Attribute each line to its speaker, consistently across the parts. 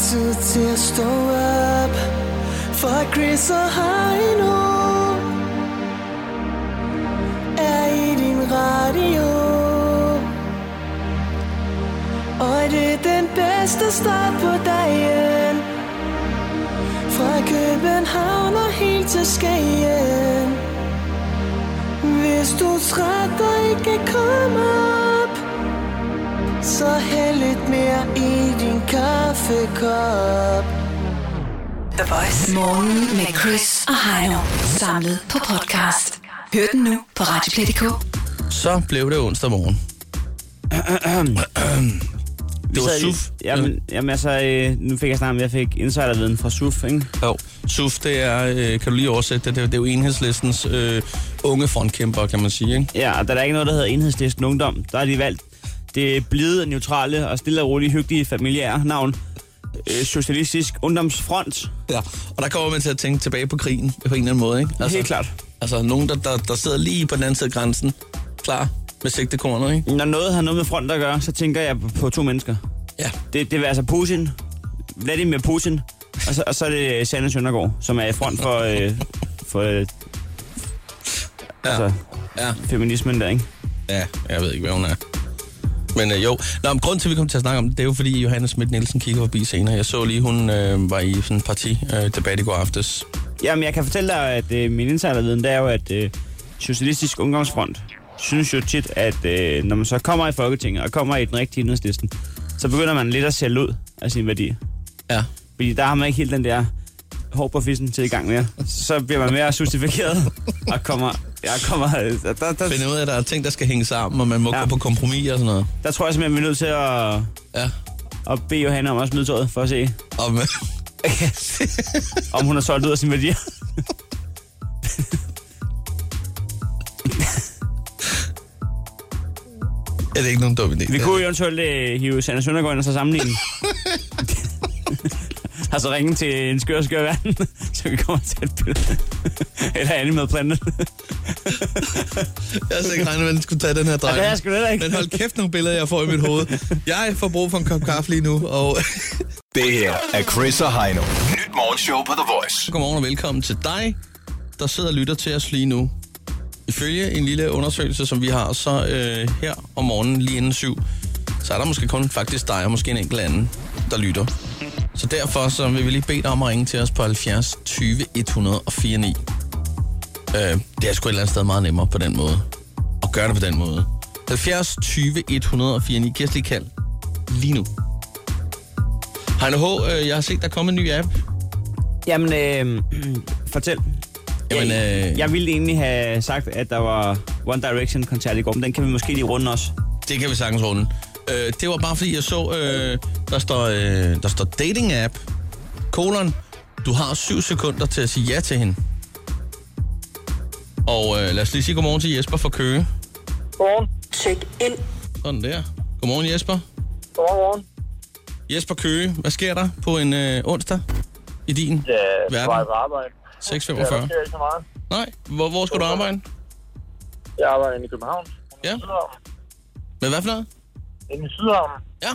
Speaker 1: tid til at stå op For Chris og Heino Er i din radio Og det er den bedste start på dagen Fra København og helt til Skagen Hvis du er træt og ikke kommer så hæld lidt mere i din kaffekop.
Speaker 2: The Voice. Morgen med Chris og Heino. Samlet på podcast. Hør den nu på Radioplay.dk.
Speaker 3: Så blev det onsdag morgen. det var
Speaker 4: sad i-
Speaker 3: SUF.
Speaker 4: Jamen, jamen altså, øh, nu fik jeg snart, jeg fik insiderviden fra SUF, ikke?
Speaker 3: Jo, SUF, det er, øh, kan du lige oversætte det, det er, det er jo enhedslistens øh, unge frontkæmper, kan man sige, ikke?
Speaker 4: Ja, og der er ikke noget, der hedder enhedslisten ungdom. Der har de valgt det blide, neutrale og stille og rolige, hyggelige, familiære navn. Øh, socialistisk ungdomsfront.
Speaker 3: Ja. Og der kommer man til at tænke tilbage på krigen, på en eller anden måde, ikke?
Speaker 4: Helt klart.
Speaker 3: Altså, nogen, der, der, der sidder lige på den anden side af grænsen, klar med sigtekornet, ikke?
Speaker 4: Når noget har noget med front at gøre, så tænker jeg på- på to mennesker.
Speaker 3: Ja.
Speaker 4: Det, det vil altså Putin, Vladimir Putin, og så, og så er det Sanne Søndergaard, som er i front for, øh, for øh,
Speaker 3: Ja.
Speaker 4: altså,
Speaker 3: Ja.
Speaker 4: feminismen der, ikke?
Speaker 3: Ja, jeg ved ikke, hvad hun er. Men øh, jo, Nå, men grunden til, at vi kom til at snakke om det, det er jo fordi, Johannes Schmidt Nielsen kigger forbi senere. Jeg så lige, hun øh, var i sådan en partidebat øh, i går aftes.
Speaker 4: Jamen, jeg kan fortælle dig, at øh, min insiderviden, det er jo, at øh, Socialistisk Ungdomsfront synes jo tit, at øh, når man så kommer i Folketinget og kommer i den rigtige enhedslisten, så begynder man lidt at sælge ud af sine værdier.
Speaker 3: Ja.
Speaker 4: Fordi der har man ikke helt den der hår på fissen til i gang mere. Så bliver man mere justifikeret og kommer... Jeg kommer øh, der, der, der,
Speaker 3: Finde ud af, at der er ting, der skal hænge sammen, og man må ja.
Speaker 4: Ja.
Speaker 3: gå på kompromis og sådan noget.
Speaker 4: der tror jeg simpelthen, vi er nødt til at,
Speaker 3: Ja.
Speaker 4: at bede Johanna om at smide tøjet, for at se,
Speaker 3: Og, med,
Speaker 4: om hun har solgt ud af sine værdier.
Speaker 3: er det ikke nogen dum idé?
Speaker 4: Vi kunne jo eventuelt øh, hive Sander Søndergaard ind og så sammenligne. og så ringe til en skør skør verden, så vi kommer til et billede. Eller Animal Planet.
Speaker 3: Jeg havde slet ikke regnet, med, at den skulle tage den her dreng.
Speaker 4: det havde jeg sgu heller ikke.
Speaker 3: Men hold kæft nogle billeder, jeg får i mit hoved. Jeg får brug for en kop kaffe lige nu, og...
Speaker 5: Det her er Chris og Heino. Nyt morgenshow på The Voice.
Speaker 3: Godmorgen og velkommen til dig, der sidder og lytter til os lige nu. Ifølge en lille undersøgelse, som vi har, så øh, her om morgenen lige inden syv, så er der måske kun faktisk dig og måske en enkelt anden, der lytter. Så derfor så vil vi lige bede dig om at ringe til os på 70 20 104 9. Øh, det er sgu et eller andet sted meget nemmere på den måde. At gøre det på den måde. 70 20 104 9. Giv os lige kald. Lige nu. Heino H., øh, jeg har set, der er kommet en ny app.
Speaker 4: Jamen, øh, fortæl.
Speaker 3: Jamen,
Speaker 4: jeg,
Speaker 3: øh,
Speaker 4: jeg ville egentlig have sagt, at der var One Direction-koncert i går, men den kan vi måske lige runde også.
Speaker 3: Det kan vi sagtens runde. Øh, det var bare fordi, jeg så, øh, der, står, øh, der står dating app, kolon, du har syv sekunder til at sige ja til hende. Og øh, lad os lige sige godmorgen til Jesper fra Køge.
Speaker 6: Godmorgen.
Speaker 2: Tjek ind.
Speaker 3: Sådan der. Godmorgen Jesper.
Speaker 6: Godmorgen, godmorgen.
Speaker 3: Jesper Køge, hvad sker der på en øh, onsdag i din
Speaker 6: Ja,
Speaker 3: Hvad er
Speaker 6: på vej
Speaker 3: den?
Speaker 6: på arbejde. Ja, der
Speaker 3: 6.45?
Speaker 6: sker ikke så meget.
Speaker 3: Nej, hvor, hvor skal du arbejde?
Speaker 6: Jeg arbejder inde i København.
Speaker 3: Ja.
Speaker 6: Inde i Sydhavnen.
Speaker 3: Med hvad for noget?
Speaker 6: Inde i Sydhavnen.
Speaker 3: Ja.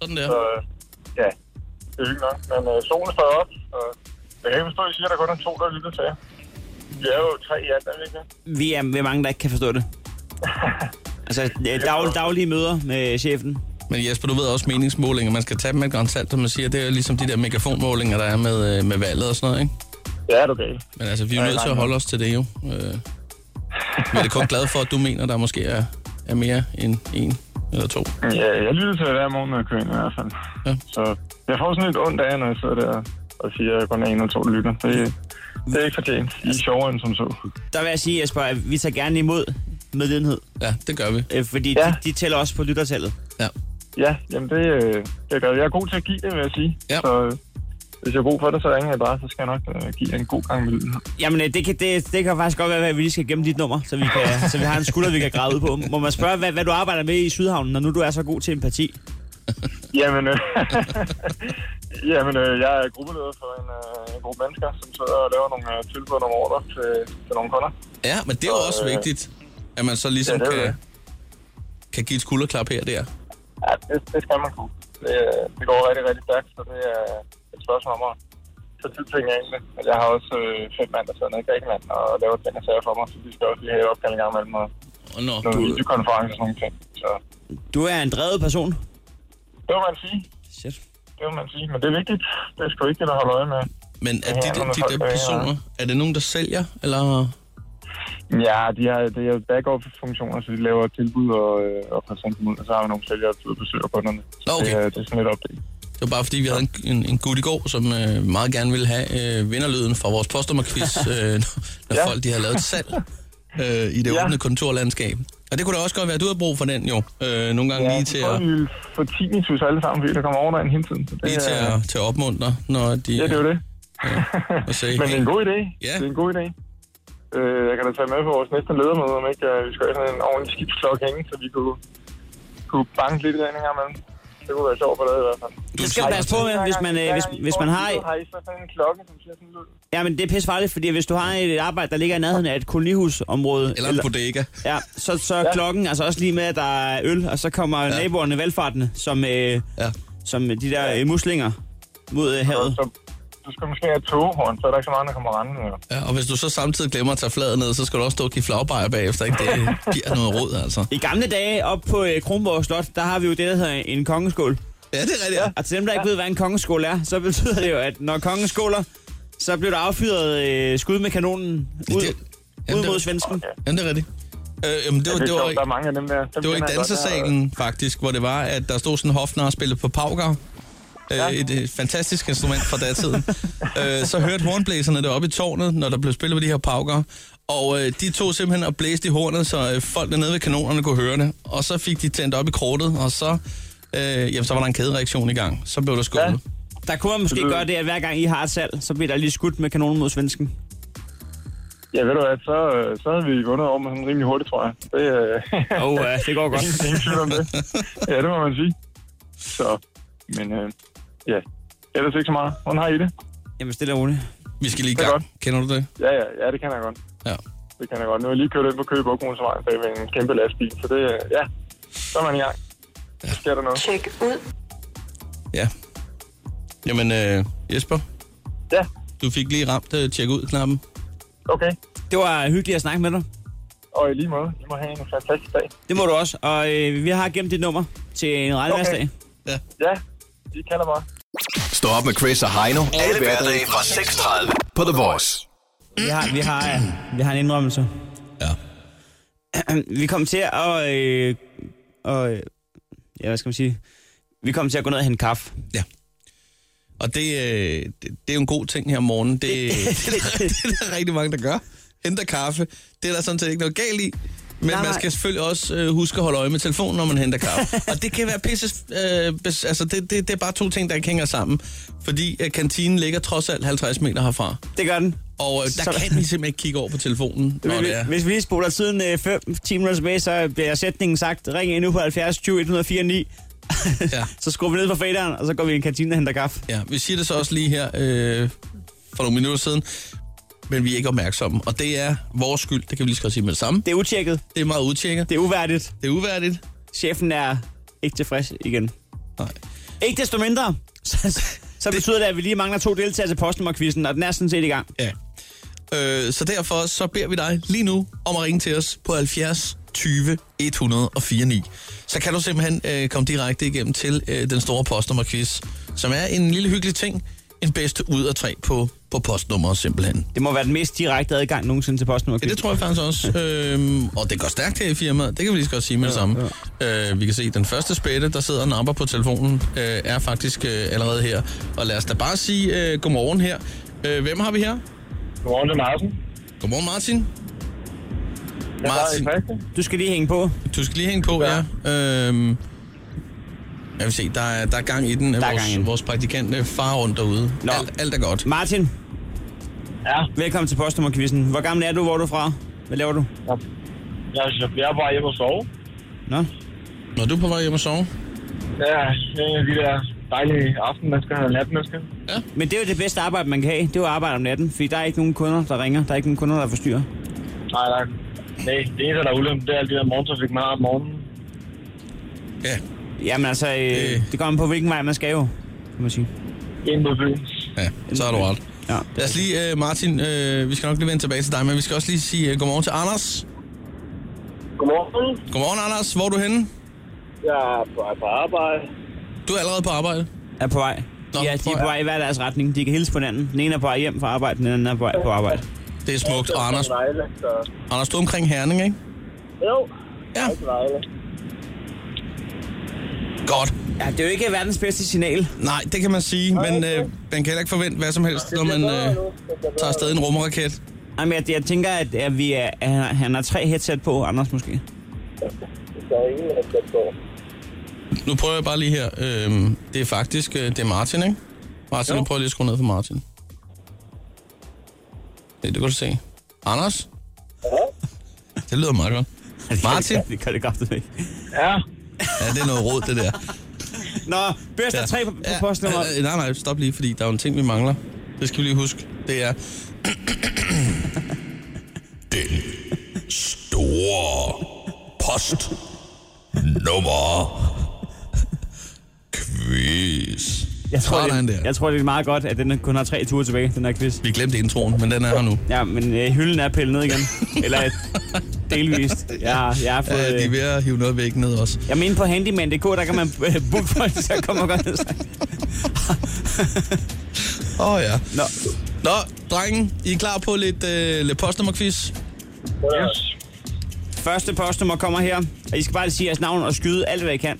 Speaker 3: Sådan
Speaker 6: Så,
Speaker 3: der.
Speaker 6: øh, ja, det er hyggeligt nok. Men øh, solen står op, og jeg kan ikke forstå, at I siger, at der kun er to, der lytter til jer. Vi er jo tre i alt, er vi ikke det?
Speaker 4: Vi er, vi er mange, der ikke kan forstå det. Altså, øh, dag, daglige møder med chefen.
Speaker 3: Men Jesper, du ved også meningsmålinger. Man skal tage dem med et grand salt, som man siger. Det er jo ligesom de der megafonmålinger, der er med, øh, med valget og sådan noget, ikke?
Speaker 6: Ja, det er okay.
Speaker 3: Men altså, vi er jo nødt til at holde os til det jo. Øh, vi er da kun glade for, at du mener, der måske er, er mere end en eller to.
Speaker 6: Ja, jeg lytter til jer hver morgen, når jeg kører ind i hvert fald.
Speaker 3: Ja.
Speaker 6: Så jeg får sådan lidt ondt af, når jeg sidder der og siger, at jeg kun er en eller to, der lytter. Det, det er ikke fortjent. I er sjovere end som så.
Speaker 4: Der vil jeg sige, Jesper, at vi tager gerne imod medlidenhed,
Speaker 3: Ja, det gør vi.
Speaker 4: øh, fordi ja.
Speaker 6: Ja.
Speaker 4: de, de tæller også på lyttertallet.
Speaker 3: Ja.
Speaker 6: Ja, jamen det, øh, det gør jeg. Jeg er god til at give det, vil jeg sige.
Speaker 3: Ja.
Speaker 6: Så øh, hvis jeg har brug for det, så ringer jeg bare, så skal jeg nok øh, give jer en god gang med lyden.
Speaker 4: Jamen, øh, det kan, det, det kan faktisk godt være, at vi lige skal gemme dit nummer, så vi, kan, så vi har en skulder, vi kan grave ud på. Må man spørge, hvad, hvad du arbejder med i Sydhavnen, når nu du er så god til empati?
Speaker 6: Jamen, øh, jamen øh, jeg er gruppeleder for en, øh, en gruppe mennesker, som sidder og laver nogle øh, tilbud og nogle ordre til, til nogle kunder.
Speaker 3: Ja, men det er jo også
Speaker 6: Øh,
Speaker 3: vigtigt, at man så ligesom
Speaker 6: ja, det er
Speaker 3: kan,
Speaker 6: det.
Speaker 3: kan give et skulderklap her og der.
Speaker 6: Ja, det, det skal man kunne. Det, øh, det går rigtig, rigtig stærkt, så det er et spørgsmål om at tage tid til egentlig. Men jeg har også øh, fem mand, der sidder nede i Grækenland og laver ting og sager for mig, så de skal også lige have et opkald en gang imellem og
Speaker 3: Og nå,
Speaker 6: nogle
Speaker 3: du,
Speaker 6: videokonferencer og sådan nogle ting. Så
Speaker 4: Du er en drevet person.
Speaker 6: det må man sige.
Speaker 4: Shit.
Speaker 6: Det må man sige. Men det er vigtigt. Det er sgu vigtigt at holde øje med.
Speaker 3: men er
Speaker 6: Ja,
Speaker 3: de,
Speaker 6: nu
Speaker 3: de,
Speaker 6: er
Speaker 3: de
Speaker 6: folk
Speaker 3: der
Speaker 6: bagved,
Speaker 3: personer, er det nogen, der sælger, eller...
Speaker 6: Ja, de har, det er back-up-funktioner, så de laver tilbud og, øh, og præsenterer dem ud, og så har vi nogle sælgere, der besøger kunderne. Så
Speaker 3: Okay.
Speaker 6: det, er, det er sådan lidt opdelt.
Speaker 3: Det var bare fordi, vi havde en, en, en gut i går, som øh, meget gerne ville have øh, vinderlyden fra vores postnummerquiz, øh, når- når ja.
Speaker 6: Ja.
Speaker 3: folk de havde lavet et salg øh, i det ja.
Speaker 6: Ja.
Speaker 3: åbne kontorlandskab. Og det kunne da også godt være, at du havde brug for den jo. Øh, nogle gange ja, lige til
Speaker 6: jeg tror,
Speaker 3: at,
Speaker 6: vi vil få tinnitus alle sammen, fordi der kommer over en hele tiden. Så det,
Speaker 3: lige til
Speaker 6: er-
Speaker 3: at, til at opmuntre, når de...
Speaker 6: Ja, det er jo det.
Speaker 3: Og sige,
Speaker 6: Men det er en god idé.
Speaker 3: Ja.
Speaker 6: Det er en god idé. Øh, jeg kan da tage med på vores næste ledermøde, om ikke øh, vi skal have sådan en ordentlig skibsklok hænge, så vi kunne, kunne banke lidt i den en gang imellem. Det kunne være sjovt for dig i hvert fald.
Speaker 3: du
Speaker 4: Det skal man passe på med, hvis man, øh, hvis, hvis man har...
Speaker 6: Har I så sådan en klokke, som siger sådan ud?
Speaker 4: Ja, men det er pissefarligt, fordi hvis du har et arbejde, der ligger i nærheden af et kolonihusområde...
Speaker 3: Eller en bodega.
Speaker 4: Ja, så, så ja. klokken, altså også lige med, at der er øl, og så kommer ja. naboerne valgfartende, som, øh,
Speaker 3: Ja.
Speaker 4: som de der øh, muslinger mod øh, havet.
Speaker 6: Så du skal måske have et togehorn, så er der ikke så mange, der kommer rendende. jo.
Speaker 3: ja. Og hvis du så samtidig glemmer at tage fladet ned, så skal du også stå og give flagbejer bagefter, ikke? Det giver noget råd, altså.
Speaker 4: I gamle dage, op på øh, Kronborg Slot, der har vi jo det, der hedder en kongeskål.
Speaker 3: Ja, det er rigtigt. Ja.
Speaker 4: Og til dem, der ikke ved, hvad en kongeskål er, så betyder det jo, at når kongen skåler, så bliver der affyret øh, skud med kanonen ud,
Speaker 3: Det- jamen,
Speaker 4: ud
Speaker 3: det-
Speaker 4: mod svensken.
Speaker 3: Jamen, det er rigtigt. Øh, jamen, det, var,
Speaker 6: Det
Speaker 3: det,
Speaker 6: er sjovt,
Speaker 3: var,
Speaker 6: der er mange af dem der. Dem
Speaker 3: Det var i
Speaker 6: kender jeg godt,
Speaker 3: dansesalen faktisk, hvor det var, at der stod sådan en hofnar og spillede på pauker. Ja. Et, et fantastisk instrument fra datiden. øh, så hørte hornblæserne det oppe i tårnet, når der blev spillet på de her pauker. Og øh, de tog simpelthen og blæste i hornet, så øh, folk nede ved kanonerne kunne høre det. Og så fik de tændt op i kortet, og så, øh, jamen, så var der en kædereaktion i gang. Så blev der skålet.
Speaker 6: Ja.
Speaker 3: Ja.
Speaker 4: Der kunne man
Speaker 6: Mm.
Speaker 4: måske gøre det, at hver gang I har et salg, så bliver der lige skudt med kanonen mod svensken.
Speaker 6: øh, Ja, ved du hvad, så, øh, så havde vi vundet over med sådan rimelig hurtigt, tror jeg. Det, øh,
Speaker 4: Åh, oh, uh, det går godt.
Speaker 6: ingen tvivl om det. Ja, det må man sige. Så, men øh, ja, ellers ikke så meget. Hvordan har I det?
Speaker 4: Jamen, stille og roligt.
Speaker 3: Vi skal lige i
Speaker 6: Det er
Speaker 3: gang. Kender du det?
Speaker 6: Ja, ja, ja, det kan jeg godt.
Speaker 3: Ja.
Speaker 6: Det kan jeg godt. Nu har jeg lige kørt ind på Køge Bukmotorvejen bag ved en kæmpe lastbil, så det, øh, ja, så er man i gang. Så sker der noget.
Speaker 2: Tjek ud.
Speaker 3: ja. Jamen, øh, Jesper,
Speaker 6: Ja,
Speaker 3: du fik lige ramt øh, tjek ud-knappen.
Speaker 6: okay.
Speaker 4: Det var hyggeligt at snakke med dig.
Speaker 6: Og i lige måde, I må have en fantastisk dag.
Speaker 4: Det må du også. Og øh, vi har gemt dit nummer til en regnværsdag.
Speaker 6: Okay.
Speaker 3: Ja.
Speaker 6: Ja, I kalder mig.
Speaker 5: Stå op med Chris og Heino. Alle hverdage fra 6.30 på The Voice.
Speaker 4: Vi, har, vi, har, øh, vi har en indrømmelse.
Speaker 3: Ja.
Speaker 4: Vi kom til at... Øh, og, øh, ja, hvad skal man sige? Vi kom til at gå ned og hente kaffe.
Speaker 3: Og det, øh, det, det er jo en god ting her om morgenen. Det, det, Øh, det, er der, det er der rigtig mange, der gør. Henter kaffe. Det er der sådan set ikke noget galt i. Men
Speaker 4: Nej,
Speaker 3: man
Speaker 4: nej.
Speaker 3: skal selvfølgelig også øh, huske at holde øje med telefonen, når man henter kaffe. og det kan være pisse... Øh, bes, altså, det, det, det er bare to ting, der ikke hænger sammen. Fordi øh, kantinen ligger trods alt 50 meter herfra.
Speaker 4: Det gør den.
Speaker 3: Og øh, der
Speaker 4: Så-
Speaker 3: kan vi simpelthen ikke kigge over på telefonen, når
Speaker 4: Hvis,
Speaker 3: det er.
Speaker 4: hvis vi lige spoler tiden øh, 5-10 minutter tilbage, så bliver sætningen sagt, ring ind nu på 70 20 104 9.
Speaker 3: Ja.
Speaker 4: så skruer vi ned på faderen, og så går vi i en kantine og henter kaffe.
Speaker 3: Ja, vi siger det så også lige her øh, for nogle minutter siden. Men vi er ikke opmærksomme. Og det er vores skyld, det kan vi lige så godt sige med det samme.
Speaker 4: Det er utjekket.
Speaker 3: Det er meget udtjekket.
Speaker 4: Det er uværdigt.
Speaker 3: Det er uværdigt.
Speaker 4: Chefen er ikke tilfreds igen.
Speaker 3: Nej.
Speaker 4: Ikke desto mindre, så, så betyder det, at vi lige mangler to deltagere til postnummerquizzen, og den er sådan set i gang.
Speaker 3: Ja. Øh, så derfor så beder vi dig lige nu om at ringe til os på 70 20 104 9. Så kan du simpelthen øh, komme direkte igennem til øh, den store postnummerquiz, som er en lille hyggelig ting. En bedste ud af tre på, på postnummeret simpelthen.
Speaker 4: Det må være den mest direkte adgang nogensinde til
Speaker 3: Ja,
Speaker 4: postnummerquizzen.
Speaker 3: det tror jeg faktisk også. øhm, og det går stærkt her i firmaet, det kan vi lige så godt sige med det samme. Øh, vi kan se, at den første spætte, der sidder og napper på telefonen, øh, er faktisk øh, allerede her. Og lad os da bare sige øh, godmorgen her. Øh, hvem har vi her?
Speaker 6: Godmorgen til Martin.
Speaker 3: Godmorgen Martin.
Speaker 6: Jeg
Speaker 3: Martin.
Speaker 6: er Christian.
Speaker 4: Du skal lige hænge på.
Speaker 3: Du skal lige hænge på, ja. ja. Øhm, jeg vil se, der er, der er gang i den.
Speaker 4: er
Speaker 3: Der vores,
Speaker 4: gang i den.
Speaker 3: vores praktikant øh, far rundt derude.
Speaker 4: Nå.
Speaker 3: Alt, alt er godt.
Speaker 4: Martin,
Speaker 6: Ja,
Speaker 4: velkommen til postnummerquizzen. Hvor gammel er du? Hvor er du fra? Hvad laver du?
Speaker 6: jeg er- jeg er bare hjemme og sove.
Speaker 4: Nå?
Speaker 3: Når du er på vej hjem og sove?
Speaker 6: Ja, det er en af de der dejlige aftenmennesker, eller natmennesker.
Speaker 4: Men det er jo det bedste arbejde, man kan have. Det er jo arbejde om natten, fordi der er ikke nogen kunder, der ringer. Der er ikke nogen kunder, der forstyrrer.
Speaker 6: Nej, nej. Nej, det eneste, der er ulempe, det er alt det der morgentrafik, man har om morgenen.
Speaker 3: Ja.
Speaker 4: Jamen altså, øh,
Speaker 3: Øh.
Speaker 4: øh. det kommer an på, hvilken vej man skal jo, kan man sige.
Speaker 6: En mod byen.
Speaker 3: Ja, så har du ret.
Speaker 4: Ja.
Speaker 3: Lad os lige, øh, Martin, øh, vi skal nok lige vende tilbage til dig, men vi skal også lige sige øh, godmorgen til Anders.
Speaker 6: Godmorgen.
Speaker 3: Godmorgen, Anders. Hvor er du henne?
Speaker 6: Jeg er på, på arbejde.
Speaker 3: Du er allerede på arbejde.
Speaker 4: Er på vej.
Speaker 3: Nå,
Speaker 4: Nå, ja, de
Speaker 3: prøv
Speaker 4: er
Speaker 3: at-
Speaker 4: på vej i hver deres retning. De kan hilse på hinanden. Den ene er på vej hjem fra arbejde, den anden er på vej på arbejde.
Speaker 3: Det er smukt. Og Anders,
Speaker 6: Vejle, så...
Speaker 3: Anders, du er omkring Herning, ikke?
Speaker 6: Jo,
Speaker 3: Ja,
Speaker 6: ikke Vejle.
Speaker 3: godt.
Speaker 4: Ja, det er jo ikke verdens bedste signal.
Speaker 3: Nej, det kan man sige, men øh, man kan heller ikke forvente hvad som helst, når man øh, tager afsted i en rumraket.
Speaker 4: Jamen, jeg, jeg tænker, at, at, vi er, at han, har- han har tre headset på, Anders måske.
Speaker 6: Der er ingen, der skal gå.
Speaker 3: Nu prøver jeg bare lige her. Øh, det er faktisk øh, det er Martin, ikke? Martin, nu prøver jeg lige at skrue ned for Martin. Det, det kan du se. Anders? Ja? Det lyder meget godt. Martin?
Speaker 4: det gør det godt, ikke.
Speaker 6: Ja,
Speaker 3: Ja, det er noget råd, det der.
Speaker 4: Nå, børster ja. tre på, på postnummer.
Speaker 3: Ja, øh, nej, nej, stop lige, fordi der er jo en ting, vi mangler. Det skal vi lige huske. Det er... Den store post nummer quiz.
Speaker 4: Jeg tror,
Speaker 3: Sådan
Speaker 4: det,
Speaker 3: der.
Speaker 4: jeg tror, det er meget godt, at den kun har tre ture tilbage, den her quiz.
Speaker 3: Vi glemte introen, men den er her nu.
Speaker 4: Ja, men øh, hylden er pillet ned igen. Eller øh, delvist. Jeg, har- jeg har
Speaker 3: Ja,
Speaker 4: fået...
Speaker 3: de er
Speaker 4: Øh,
Speaker 3: ved at hive noget væk ned også.
Speaker 4: jeg mener på handyman.dk, der kan man øh, booke folk, så kommer godt ned.
Speaker 3: Åh oh, ja.
Speaker 4: Nå,
Speaker 3: Nå, drengen, I er klar på lidt, øh, lidt postnummerquiz?
Speaker 6: yes.
Speaker 4: første postnummer kommer her. Og I skal bare sige jeres navn og skyde alt, hvad I kan.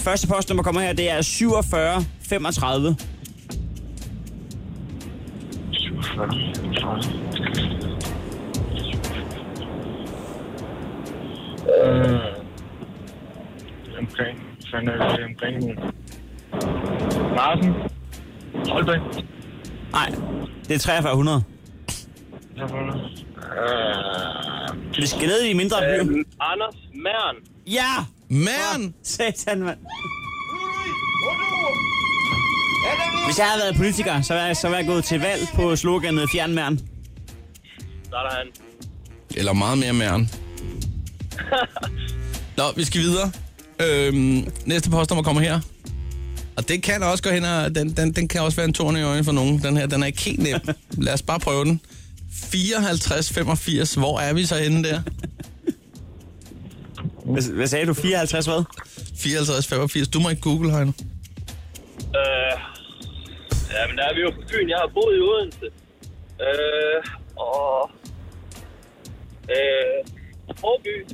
Speaker 4: Første postnummer kommer her, det er 47 35.
Speaker 6: Øh, omkring, fanden er det omkring nu? Larsen, Holbæk,
Speaker 4: Nej, det er 4300.
Speaker 6: hvad var det? Øh,
Speaker 4: Vi skal ned i de mindre byer.
Speaker 6: Anders Mern.
Speaker 4: Ja!
Speaker 3: Man!
Speaker 4: Satan, mand. Hvis jeg havde været politiker, så var jeg, så var jeg gået til valg på sloganet Fjernmæren.
Speaker 6: Der er han.
Speaker 3: Eller meget mere mæren. Nå, vi skal videre. Øhm, næste postnummer kommer her. Og det kan også gå hen og... Den, den, den kan også være en torn i øjnene for nogen. Den her, den er ikke helt nem. Lad os bare prøve den. 54-85. Hvor er vi så henne der?
Speaker 4: Hvad, hvad sagde du? 54 hvad?
Speaker 3: 54-85. Du må ikke google, Heino.
Speaker 7: Øh, ja, men der er vi jo på Fyn. Jeg har boet i Odense. Øh, og... Øh, Broby,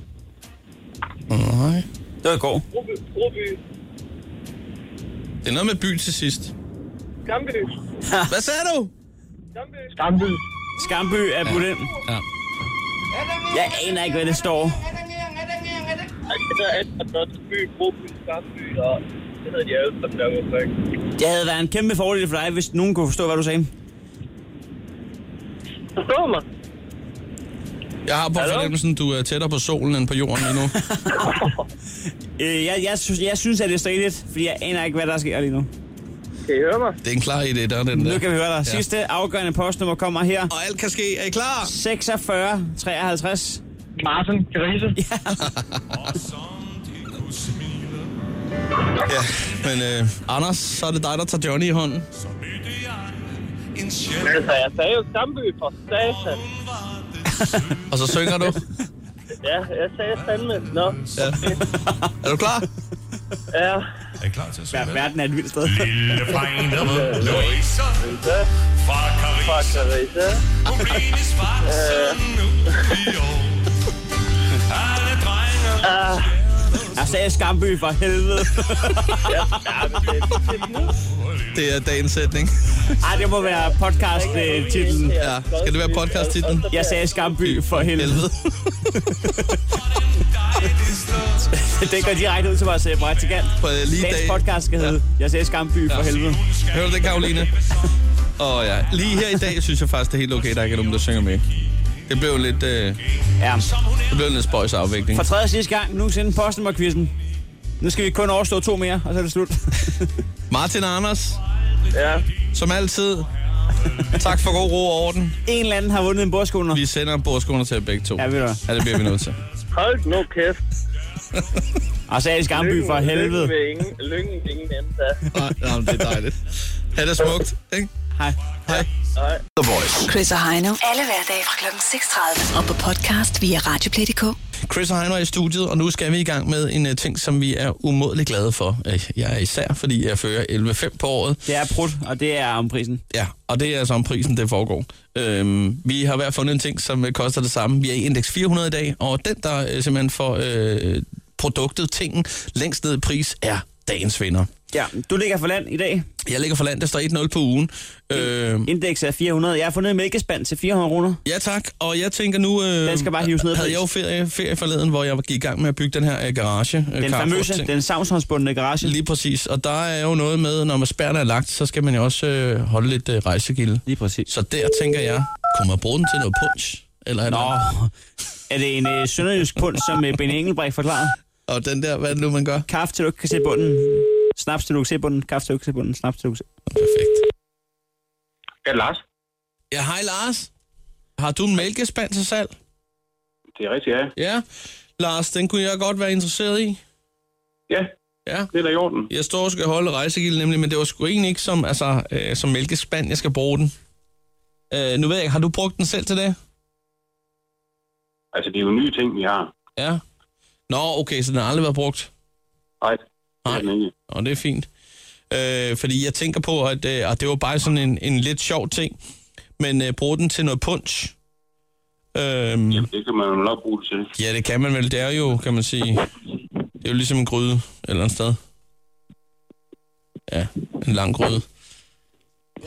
Speaker 3: Nej.
Speaker 4: Det var i går.
Speaker 7: Broby, Broby,
Speaker 3: Det er noget med by til sidst.
Speaker 7: Skamby,
Speaker 3: Hvad sagde du?
Speaker 7: Skamby.
Speaker 6: Stamby.
Speaker 4: Skamby er budt ind.
Speaker 3: Ja.
Speaker 4: Jeg aner ikke, hvad det står.
Speaker 7: Jeg kender alt fra Brøndsby, Broby, Skamby, og det hedder de alle sammen derude, ikke?
Speaker 4: Det havde været en kæmpe fordel for dig, hvis nogen kunne forstå, hvad du sagde.
Speaker 7: Forstår du mig?
Speaker 3: Jeg har på
Speaker 7: Hallo?
Speaker 3: fornemmelsen, du er tættere på solen end på jorden lige nu.
Speaker 4: Øh, jeg, jeg, synes, jeg synes, at det er stridigt, fordi jeg aner ikke, hvad der sker lige nu.
Speaker 7: Kan I høre mig?
Speaker 3: Det er en klar idé, der er den
Speaker 4: Nu
Speaker 3: der.
Speaker 4: kan vi høre dig. Sidste afgørende postnummer kommer her.
Speaker 3: Og alt kan ske. Er I klar?
Speaker 4: 46 53.
Speaker 6: Martin Grise.
Speaker 3: Ja. Men øh, Anders, så er det dig, der tager Johnny i hånden.
Speaker 7: Altså, jeg sagde jo Skamby for satan.
Speaker 3: Og så synger du.
Speaker 7: Ja, jeg sagde fandme. Nå,
Speaker 3: Ja. Er du klar?
Speaker 7: ja.
Speaker 8: Er I klar til at synge
Speaker 4: Ver-
Speaker 8: med?
Speaker 4: Verden er et vildt sted.
Speaker 8: Lille dreng, der var Louise fra
Speaker 7: Fuck,
Speaker 8: Paris.
Speaker 7: Carissa.
Speaker 8: Hun blev hendes far, sådan nu i år. Alle drenge.
Speaker 4: Jeg sagde Skamby for helvede.
Speaker 3: Det er dagens sætning.
Speaker 4: Ej, det må være podcast-titlen.
Speaker 3: Ja. Skal det være podcast-titlen?
Speaker 4: Jeg sagde Skamby for helvede.
Speaker 3: Helvede.
Speaker 4: Det går direkte ud til vores øh, praktikant.
Speaker 3: På, øh, lige
Speaker 4: Dagens
Speaker 3: dag.
Speaker 4: podcast skal hedde Jeg sagde Skamby for helvede.
Speaker 3: Hører du det, Karoline? Åh oh, ja. Lige her i dag synes jeg faktisk, det er helt okay, der ikke er nogen, der synger med. Det blev lidt, øh,
Speaker 4: Ja.
Speaker 3: det blev en lidt spøjs afvikling.
Speaker 4: For tredje og sidste gang nogensinde postnummerquizzen. Nu skal vi kun overstå to mere, og så er det slut.
Speaker 3: Martin og Anders,
Speaker 7: Ja,
Speaker 3: som altid, tak for god ro og orden.
Speaker 4: en eller anden har vundet en bordskoner.
Speaker 3: Vi sender bordskoner til jer begge to.
Speaker 4: Ja, ved du hvad.
Speaker 3: Ja, det bliver vi nødt til.
Speaker 7: hold nu kæft.
Speaker 4: Asiatisk Amby for helvede.
Speaker 7: Lyngen vil ingen, lyngen ingen ende af.
Speaker 3: Nej, nej, men det er dejligt. Ha' det smukt, ikke?
Speaker 4: Hej.
Speaker 3: Hej.
Speaker 7: Nej.
Speaker 5: The Voice.
Speaker 2: Chris og Heino. Alle hverdage fra kl. 6.30. Og på podcast via Radioplay.dk.
Speaker 3: Chris og Heino er i studiet, og nu skal vi i gang med en uh, ting, som vi er umådeligt glade for. Øh, Jeg er især, fordi jeg fører 11.5 på året.
Speaker 4: Det er prut, og det er om prisen.
Speaker 3: Ja, og det er altså om prisen, det foregår. Øhm, vi har hver fundet en ting, som øh, koster det samme. Vi er i indeks 400 i dag, og den, der øh, simpelthen får øh, produktet, tingen, længst ned i pris, er dagens vinder.
Speaker 4: Ja, du ligger for land i dag.
Speaker 3: Jeg ligger for land, der står 1-0 på ugen. Øhm,
Speaker 4: Indeks er 400. Jeg har fundet en mælkespand til 400 kroner.
Speaker 3: Ja tak, og jeg tænker nu... Øh,
Speaker 4: Den skal bare hives ned i
Speaker 3: Havde
Speaker 4: pris.
Speaker 3: jeg jo ferie, ferie forleden, hvor jeg gik i gang med at bygge den her øh, garage. øh,
Speaker 4: Den
Speaker 3: carport-ting.
Speaker 4: famøse, den savshåndsbundne garage.
Speaker 3: Lige præcis, og der er jo noget med, når man spærren er lagt, så skal man jo også øh, holde lidt øh, rejsegilde.
Speaker 4: Lige præcis.
Speaker 3: Så der tænker jeg, kunne man bruge den til noget punch? Eller
Speaker 4: Nå,
Speaker 3: Eller?
Speaker 4: er det en øh, sønderjysk pund, som øh, Benny Engelbrecht forklarede?
Speaker 3: Og den der, hvad er det nu, man gør?
Speaker 4: Kaffe til du ikke kan se bunden. Snaps til du kan se bunden. Kaffe til du ikke kan se bunden. Snaps til du kan se
Speaker 3: Perfekt.
Speaker 6: Ja, Lars.
Speaker 3: Ja, hej Lars. Har du en mælkespand til salg?
Speaker 6: Det er rigtigt, ja.
Speaker 3: Ja. Lars, den kunne jeg godt være interesseret i.
Speaker 6: Ja,
Speaker 3: Ja.
Speaker 6: det er da i orden.
Speaker 3: Jeg står og skal holde rejsegilde nemlig, men det var sgu egentlig ikke som, altså, øh, som mælkespand, jeg skal bruge den. Øh, nu ved jeg ikke, har du brugt den selv til det?
Speaker 6: Altså, det er jo nye ting, vi har.
Speaker 3: Ja. Nå, okay, så den har aldrig været brugt.
Speaker 6: Nej, det
Speaker 3: Nej.
Speaker 6: er den ikke.
Speaker 3: Og det er fint. Øh, fordi jeg tænker på, at, øh, at det var bare sådan en, en lidt sjov ting, men øh, bruge den til noget punch. Øhm,
Speaker 6: Jamen, det kan man jo nok bruge det til.
Speaker 3: ja, det kan man vel. Det er jo, kan man sige, det er jo ligesom en gryde et eller andet sted. Ja, en lang gryde.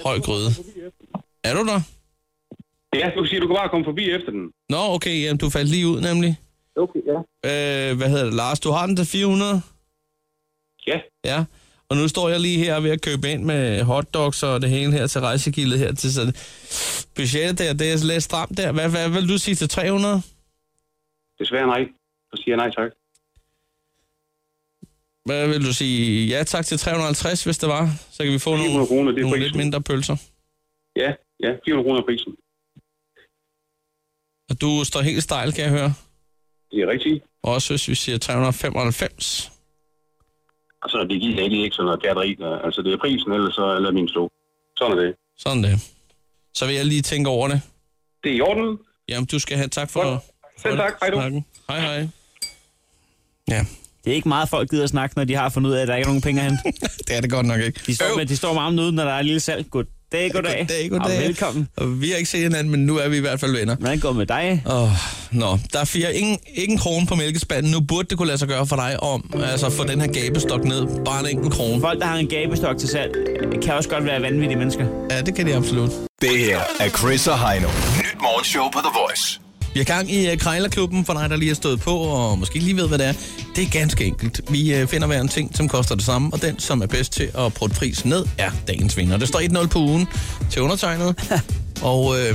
Speaker 3: Høj gryde. Er du der?
Speaker 6: Ja, du kan sige, du kan bare komme forbi efter den.
Speaker 3: Nå, okay, jamen, du faldt lige ud nemlig.
Speaker 6: Okay, ja.
Speaker 3: Øh, hvad hedder det, Lars? Du har den til 400?
Speaker 6: Ja,
Speaker 3: Ja. Og nu står jeg lige her ved at købe ind med hotdogs og det hele her til rejsegildet her til sådan. Budgettet der, det er lidt stramt der. Hvad, hvad vil du sige til 300?
Speaker 6: desværre nej. Så siger jeg nej tak.
Speaker 3: Hvad vil du sige? Ja, tak til 350, hvis det var. Så kan vi få
Speaker 6: 400
Speaker 3: nogle,
Speaker 6: kroner, det er
Speaker 3: nogle lidt
Speaker 6: prisen.
Speaker 3: mindre pølser.
Speaker 6: Ja, ja, 400 kroner er prisen.
Speaker 3: Og du står helt stejl, kan jeg høre.
Speaker 6: Det er rigtigt.
Speaker 3: Også hvis vi siger 395.
Speaker 6: Altså, det giver egentlig ikke sådan noget pjateri. der. Altså, det er prisen, ellers så lad min stå. Sådan er det.
Speaker 3: Sådan det. Så vil jeg lige tænke over det.
Speaker 6: Det er i orden.
Speaker 3: Jamen, du skal have tak for,
Speaker 6: Godt. Selv
Speaker 3: for
Speaker 6: tak. Hej du.
Speaker 3: snakken. Hej, hej. Ja,
Speaker 4: Det er ikke meget, folk gider at snakke, når de har fundet ud af, at der ikke er nogen penge at hente.
Speaker 3: det er det godt nok ikke.
Speaker 4: De står,
Speaker 3: Øv.
Speaker 4: med, de står med armen ude, når der er et lille salg. Goddag, goddag.
Speaker 3: Goddag, goddag.
Speaker 4: Og velkommen.
Speaker 3: Og vi har ikke set hinanden, men nu er vi i hvert fald venner.
Speaker 4: Hvordan går det med dig?
Speaker 3: Åh, nå, der er fire, ingen, ingen krone på mælkespanden. Nu burde det kunne lade sig gøre for dig om, altså få den her gabestok ned. Bare en enkelt krone.
Speaker 4: Folk, der har en gabestok til salg, kan også godt være vanvittige mennesker.
Speaker 3: Ja, det kan de absolut.
Speaker 5: Det her er Chris og Heino. Nyt morgenshow på The Voice.
Speaker 3: Vi har gang i uh, Krejlerklubben for dig, der lige har stået på og måske ikke lige ved, hvad det er. Det er ganske enkelt. Vi uh, finder hver en ting, som koster det samme, og den, som er bedst til at putte prisen ned, er dagens vinder. Det står 1-0 på ugen til undertegnet. og øh,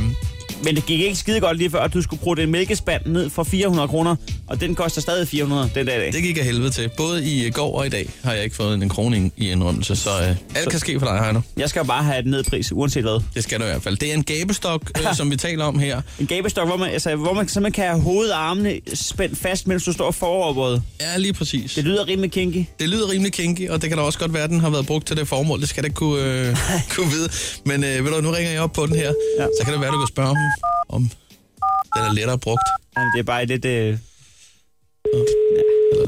Speaker 4: Men det gik ikke skide godt lige før, at du skulle bruge den mælkespand ned for 400 kroner, og den koster stadig 400 den dag i dag.
Speaker 3: det gik af helvede til. Både i øh, går og i dag har jeg ikke fået en krone i- i indrømmelse, så uh, alt kan ske for dig, Heino.
Speaker 4: Jeg skal jo bare have den ned i pris, uanset hvad.
Speaker 3: Det skal du i hvert fald. Det er en gabestok, øh, som vi taler om her.
Speaker 4: En gabestok, hvor man, altså, hvor man simpelthen kan have hovedet og armene spændt fast, mens du står foroverbøjet.
Speaker 3: Ja, lige præcis.
Speaker 4: Det lyder rimelig kinky.
Speaker 3: Det lyder rimelig kinky, og det kan da også godt være, at den har været brugt til det formål. Det skal det kunne, øh, kunne vide. Men øh, ved du, nu ringer jeg op på den her. Ja.
Speaker 4: Ja.
Speaker 3: Så kan det være, du kan spørge om, om den er lettere brugt.
Speaker 4: Jamen, det er bare lidt... Øh,
Speaker 3: Eller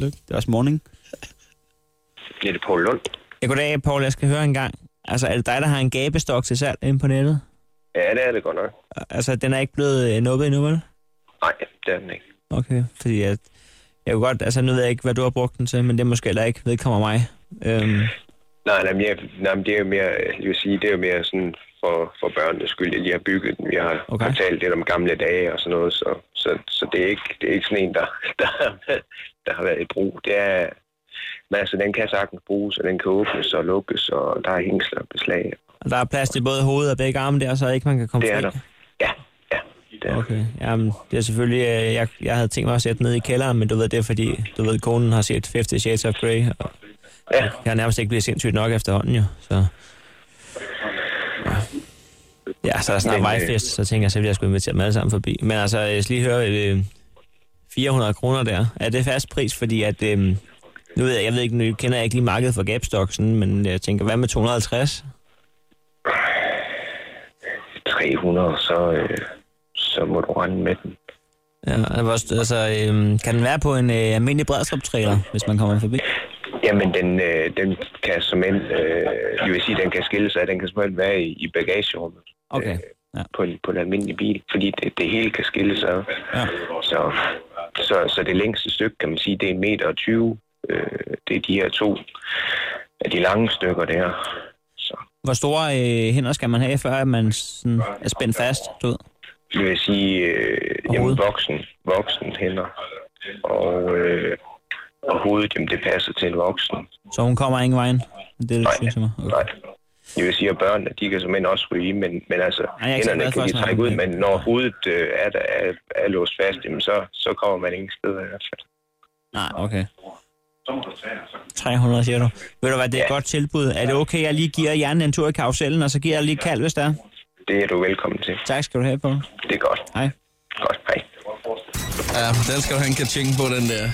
Speaker 3: lykke.
Speaker 4: det er også morning.
Speaker 6: Det er det Poul Lund.
Speaker 4: Ja, goddag, Paul. Jeg skal høre en gang. Altså, er det dig, der har en gabestok til salg inde på nettet?
Speaker 6: Ja, det er det godt nok.
Speaker 4: Altså, den er ikke blevet øh, nuppet endnu, vel?
Speaker 6: Nej, det er den ikke.
Speaker 4: Okay, fordi jeg, jeg kunne godt... Altså, nu ved jeg ikke, hvad du har brugt den til, men det er måske heller ikke vedkommer mig. Øhm,
Speaker 9: Nej, nej, men, jeg, nej, men det er jo mere, jeg vil sige, det er jo mere sådan for, for børnenes skyld, jeg lige har bygget den. Jeg har
Speaker 4: Okay.
Speaker 9: okay. talt lidt om gamle dage og sådan noget, så, så, så det, er ikke, det er ikke sådan en, der, der, har været- der har været i brug. Det er, men altså, den kan sagtens bruges, og den kan åbnes og lukkes, og der er hængsler og beslag.
Speaker 4: og der er plads til både hovedet og begge arme der, så ikke man kan komme
Speaker 9: Det er
Speaker 4: fri.
Speaker 9: der. Ja, ja. Det er. der.
Speaker 4: Okay, jamen, det er selvfølgelig, øh, jeg, jeg havde tænkt mig at sætte den ned i kælderen, men du ved, det er fordi, du ved, konen har set 50 Shades of Grey, og
Speaker 9: Ja,
Speaker 4: jeg har nærmest ikke blevet sindssygt nok efterhånden jo, så... Ja. Ja, så er der snart
Speaker 9: Men, øh,
Speaker 4: vejfest, så tænker jeg, så vil jeg skulle invitere dem alle sammen forbi. Men altså, jeg skal lige høre, øh, 400 kroner der, er det fast pris, fordi at, øh,
Speaker 10: Nu ved jeg, jeg ved ikke, nu kender jeg ikke lige markedet for Gapstock, sådan, men jeg tænker, hvad med 250?
Speaker 9: 300, så, øh, så må du rende med den.
Speaker 10: Ja, altså, altså øhm, kan den være på en øh, almindelig brædskab-trailer, hvis man kommer forbi?
Speaker 9: Jamen, den, øh, den kan som end, øh, jeg vil sige, den kan skille sig, den kan som end være i, i bagagerummet.
Speaker 10: Okay.
Speaker 9: Ja. På, en, på en almindelig bil, fordi det, det hele kan skille sig.
Speaker 10: Ja.
Speaker 9: Så, så, så det længste stykke, kan man sige, det er en meter og 20. Øh, det er de her to af de lange stykker der.
Speaker 10: Hvor store øh, hænder skal man have, før man sådan, er spændt fast, du ved?
Speaker 9: Jeg vil sige, øh, jamen, voksen, voksen hænder. Og, øh, og hovedet, jamen, det passer til en voksen.
Speaker 10: Så hun kommer ingen vejen? Det er det, du synes mig. Okay.
Speaker 9: Nej. Jeg vil sige, at børnene, de kan som end også ryge, men, men altså,
Speaker 10: jeg er ikke så glad
Speaker 9: hænderne
Speaker 10: for
Speaker 9: kan de
Speaker 10: at snakke
Speaker 9: trække
Speaker 10: om
Speaker 9: ud,
Speaker 10: det.
Speaker 9: men når hovedet øh, er, der, er, er låst fast, jamen, så, så kommer man ingen steder i hvert fald.
Speaker 10: Nej, okay. 300, siger du. Ved du hvad, det er et godt tilbud. Er det okay, jeg lige giver hjernen en tur i karusellen, og så giver jeg lige et kald, hvis der er?
Speaker 9: Det er du velkommen til.
Speaker 10: Tak skal du have, Paul.
Speaker 9: Det er godt.
Speaker 10: Hej.
Speaker 9: Godt, hej.
Speaker 3: Ja, den skal du have en kaching på, den der.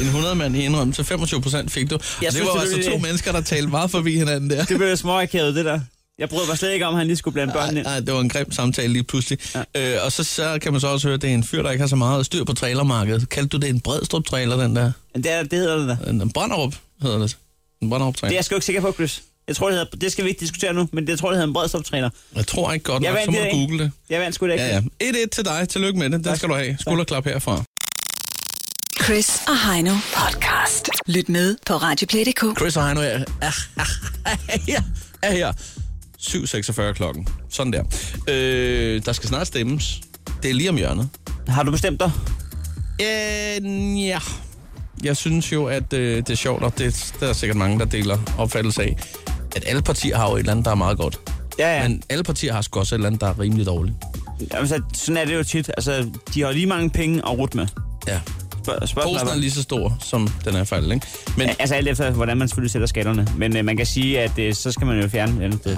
Speaker 3: En 100 mand i indrømme til 25 procent fik du. Og det
Speaker 4: synes,
Speaker 3: var
Speaker 4: det
Speaker 3: altså
Speaker 4: blev-
Speaker 3: to mennesker, der talte meget forbi hinanden der.
Speaker 4: Det blev småakavet, det der. Jeg brød mig slet ikke om, at han lige skulle blande børnene ind.
Speaker 3: Nej, det var en grim samtale lige pludselig. Ja. Øh, og så, så kan man så også høre, at det er en fyr, der ikke har så meget styr på trailermarkedet. Kaldte du det en Bredstrup-trailer, den der?
Speaker 4: Det, er, det hedder det
Speaker 3: der. En Brønderup hedder det. En Brønderup-trailer.
Speaker 4: Det er jeg sgu ikke sikker på, Chris. Jeg tror, det, hedder, det skal vi ikke diskutere nu, men det jeg tror, det hedder en bredstoptræner.
Speaker 3: Jeg tror ikke godt
Speaker 4: jeg
Speaker 3: nok,
Speaker 4: vandt
Speaker 3: så må
Speaker 4: det
Speaker 3: du
Speaker 4: ikke.
Speaker 3: google det.
Speaker 4: Jeg vandt sgu da ikke.
Speaker 3: Ja, ja. 1-1 til dig. Tillykke med det. Den skal du have. Skulderklap herfra.
Speaker 2: Chris og Heino podcast. Lyt med på Radioplay.dk.
Speaker 3: Chris og Heino er, er, er, er her. 7.46 klokken. Sådan der. Øh, der skal snart stemmes. Det er lige om hjørnet.
Speaker 4: Har du bestemt dig?
Speaker 3: Øh, ja. Jeg synes jo, at øh, det er sjovt, og det, der er sikkert mange, der deler opfattelse af, at alle partier har jo et eller andet, der er meget godt.
Speaker 4: Ja, ja.
Speaker 3: Men alle partier har sgu også et eller andet, der er rimelig dårligt.
Speaker 4: Jamen, så, sådan er det jo tit. Altså, de har lige mange penge at rute med.
Speaker 3: Ja.
Speaker 4: Spørg,
Speaker 3: Posen er lige så stor, som den er fejl, ikke? Men,
Speaker 4: Men... Altså alt efter, hvordan man selvfølgelig sætter skatterne. Men øh, man kan sige, at øh, så skal man jo fjerne et andet sted.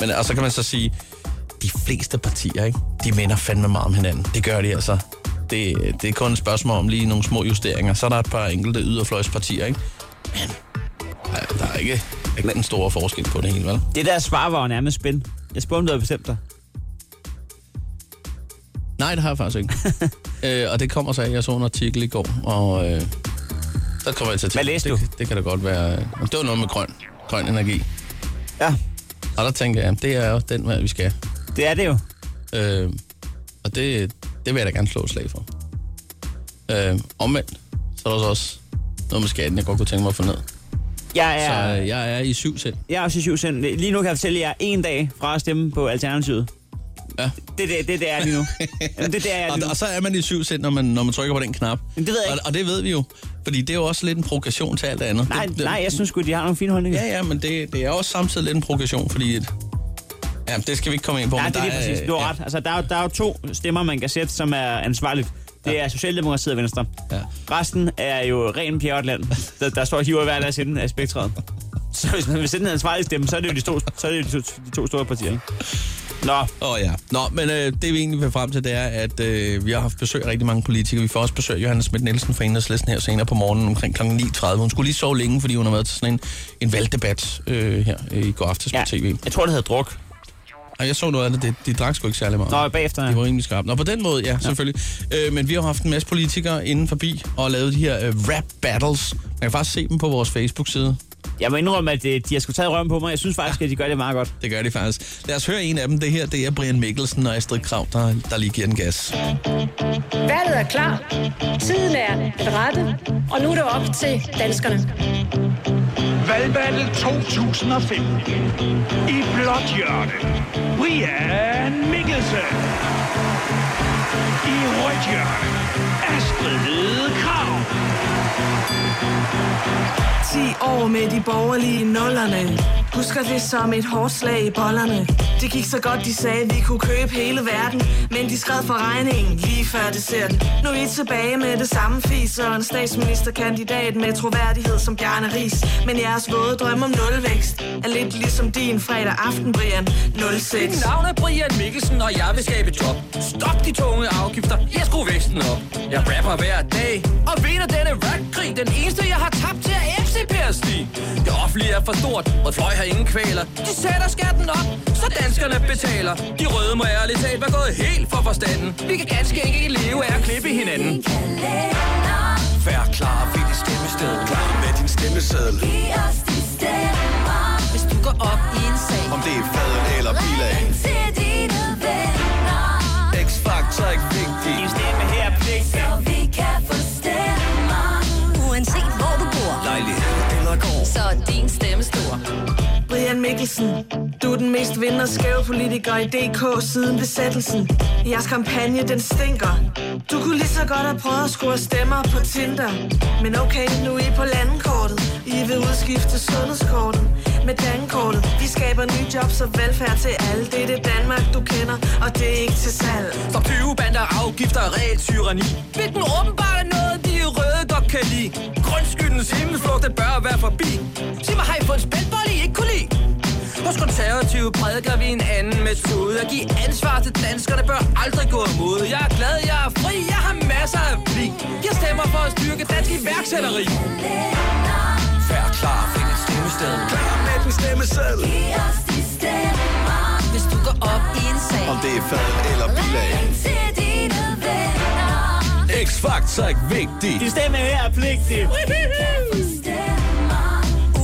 Speaker 3: men, og så kan man så sige, de fleste partier, ikke? De minder fandme meget om hinanden. Det gør de altså. Det, det er kun et spørgsmål om lige nogle små justeringer. Så er der et par enkelte yderfløjspartier, ikke? Men der, er- der er ikke, ikke den store forskel på det hele, vel?
Speaker 4: Det der svar var jo nærmest spænd. Jeg spurgte, om du havde bestemt dig.
Speaker 3: Nej, det har jeg faktisk ikke. øh, og det kommer så af, jeg så en artikel i går, og øh, der kommer jeg til at tænke,
Speaker 4: Hvad læste
Speaker 3: det, Det kan da godt være... øh, Det var noget med grøn, grøn energi.
Speaker 4: Ja.
Speaker 3: Og der tænker jeg, det er jo den vej, vi skal.
Speaker 4: Det er det jo.
Speaker 3: Øh, og det, det vil jeg da gerne slå et slag for. Øh, omvendt, så er der så også noget med skatten, jeg godt kunne tænke mig at få ned.
Speaker 4: Jeg er,
Speaker 3: Så øh, jeg er i syv selv.
Speaker 4: jeg er også i syv sind. Lige nu kan jeg fortælle jer en dag fra at stemme på Alternativet.
Speaker 3: Ja.
Speaker 4: Det, det, det, det er lige nu. Jamen, det, det er jeg
Speaker 3: Og,
Speaker 4: lige nu.
Speaker 3: og så er man i syv sind, når man, når man trykker på den knap.
Speaker 4: Men det ved jeg
Speaker 3: Og,
Speaker 4: ikke.
Speaker 3: og det ved vi jo, fordi det er jo også lidt en provokation til alt andet.
Speaker 4: Nej,
Speaker 3: det, det,
Speaker 4: nej, jeg synes sgu, de har nogle fine holdninger.
Speaker 3: Ja, ja, men det, det er også samtidig lidt en provokation, fordi... Et, ja, det skal vi ikke komme ind på.
Speaker 4: Nej,
Speaker 3: men
Speaker 4: det er lige præcis. Du har ret. Altså, der er, jo- der er jo to stemmer, man kan sætte, som er ansvarligt. Det er Socialdemokratiet og Venstre.
Speaker 3: Ja.
Speaker 4: Resten er jo ren pjatland, der, der står og hiver i hver deres ende af spektret. Så hvis man vil sætte en ansvarlig stemme, så er det jo de to, så er det jo de to, de to store partier. ikke? Nå,
Speaker 3: Åh oh, ja. Nå, men øh, det vi egentlig vil frem til, det er, at øh, vi har haft besøg af rigtig mange politikere. Vi får også besøg af Johannes Schmidt Nielsen fra Enhedslisten her senere på morgenen omkring kl. 9.30. Hun skulle lige sove længe, fordi hun har været til sådan en, en valgdebat øh, her øh, i går aftes ja.
Speaker 4: Ja.
Speaker 3: på tv.
Speaker 4: jeg tror, det hedder druk.
Speaker 3: Og jeg så noget af det, de, de drak sgu ikke særlig meget.
Speaker 4: Nå, bagefter.
Speaker 3: De
Speaker 4: Ja.
Speaker 3: var rimelig skarpe. Nå, på den måde, ja, selvfølgelig. Øh, men vi har haft en masse politikere inden forbi og lavet de her øh, rap battles. Man kan faktisk se dem på vores Facebook-side.
Speaker 4: Jeg må indrømme, at øh, de har sgu taget røven på mig. Jeg synes faktisk, at de gør det meget godt.
Speaker 3: Det gør de faktisk. Lad os høre en af dem. Det her, det er Brian Mikkelsen og Astrid Krav, der, der lige giver den gas.
Speaker 11: Valget er klar. Tiden er den rette. Og nu er det op til danskerne.
Speaker 8: Valgvalget 2015. I blåt hjørne. Brian Mikkelsen. I rødt hjørne. Astrid Krav.
Speaker 12: 10 år med de borgerlige nullerne. Husker det som et hårdt slag i bollerne. Det gik så godt, de sagde, vi kunne købe hele verden. Men de skred for regningen lige før det ser den. Nu er I tilbage med det samme fis og en statsministerkandidat med troværdighed som Bjarne Ries. Men jeres våde drøm om nulvækst er lidt ligesom din fredag aften, Brian 06.
Speaker 13: Mit navn er Brian Mikkelsen, og jeg vil skabe job. Stop de tunge afgifter, jeg skruer væksten op. Jeg rapper hver dag, og vinder denne rapkrig. Den eneste, jeg har tabt til er FC Per Stig. Det offentlige er for stort, og fløj har ingen kvaler. De sætter skatten op, så danskerne betaler. De røde må ærligt talt være gået helt for forstanden. Vi kan ganske ikke leve af at klippe hinanden. Vær klar ved dit stemmested. Klar med din stemmeseddel.
Speaker 14: Giv os de stemmer. Hvis du går op i en sag.
Speaker 5: Om det er faden eller bilag.
Speaker 14: Ring til dine venner.
Speaker 5: X-Factor er ikke vigtig.
Speaker 13: Din stemme her er pligtig.
Speaker 14: Så vi kan få stemmer. Uanset hvor du bor.
Speaker 5: Lejlighed eller gård.
Speaker 14: Så er din stemme stor.
Speaker 12: Brian Mikkelsen, du er den mest vind- og skæve politiker i DK siden besættelsen. Jeres kampagne, den stinker. Du kunne lige så godt have prøvet at score stemmer på Tinder. Men okay, nu er I på landkortet. I vil udskifte sundhedskortet med dankortet. Vi skaber nye jobs og velfærd til alle. Det er det Danmark, du kender, og det er ikke til salg.
Speaker 13: Stop 20 bander, afgifter, regel, tyranni. Hvilken åbenbart er noget, de røde godt kan lide. Grundskyldens himmelflugt, det bør være forbi. Sig mig, har I fået en spændbold, I ikke kunne lide? Hos konservative prædiker vi en anden metode. At give ansvar til danskerne bør aldrig gå imod. Jeg er glad, jeg er fri, jeg har masser af blik. Jeg stemmer for at styrke dansk iværksætteri. Vær klar, find et stemmested. Klar med din stemmeseddel.
Speaker 14: Giv os de stemmer. Hvis du går op i en sag.
Speaker 5: Om det er faden eller bilag.
Speaker 14: Ring til dine venner.
Speaker 5: X-Factor er ikke vigtig.
Speaker 4: Din stemme her er pligtig.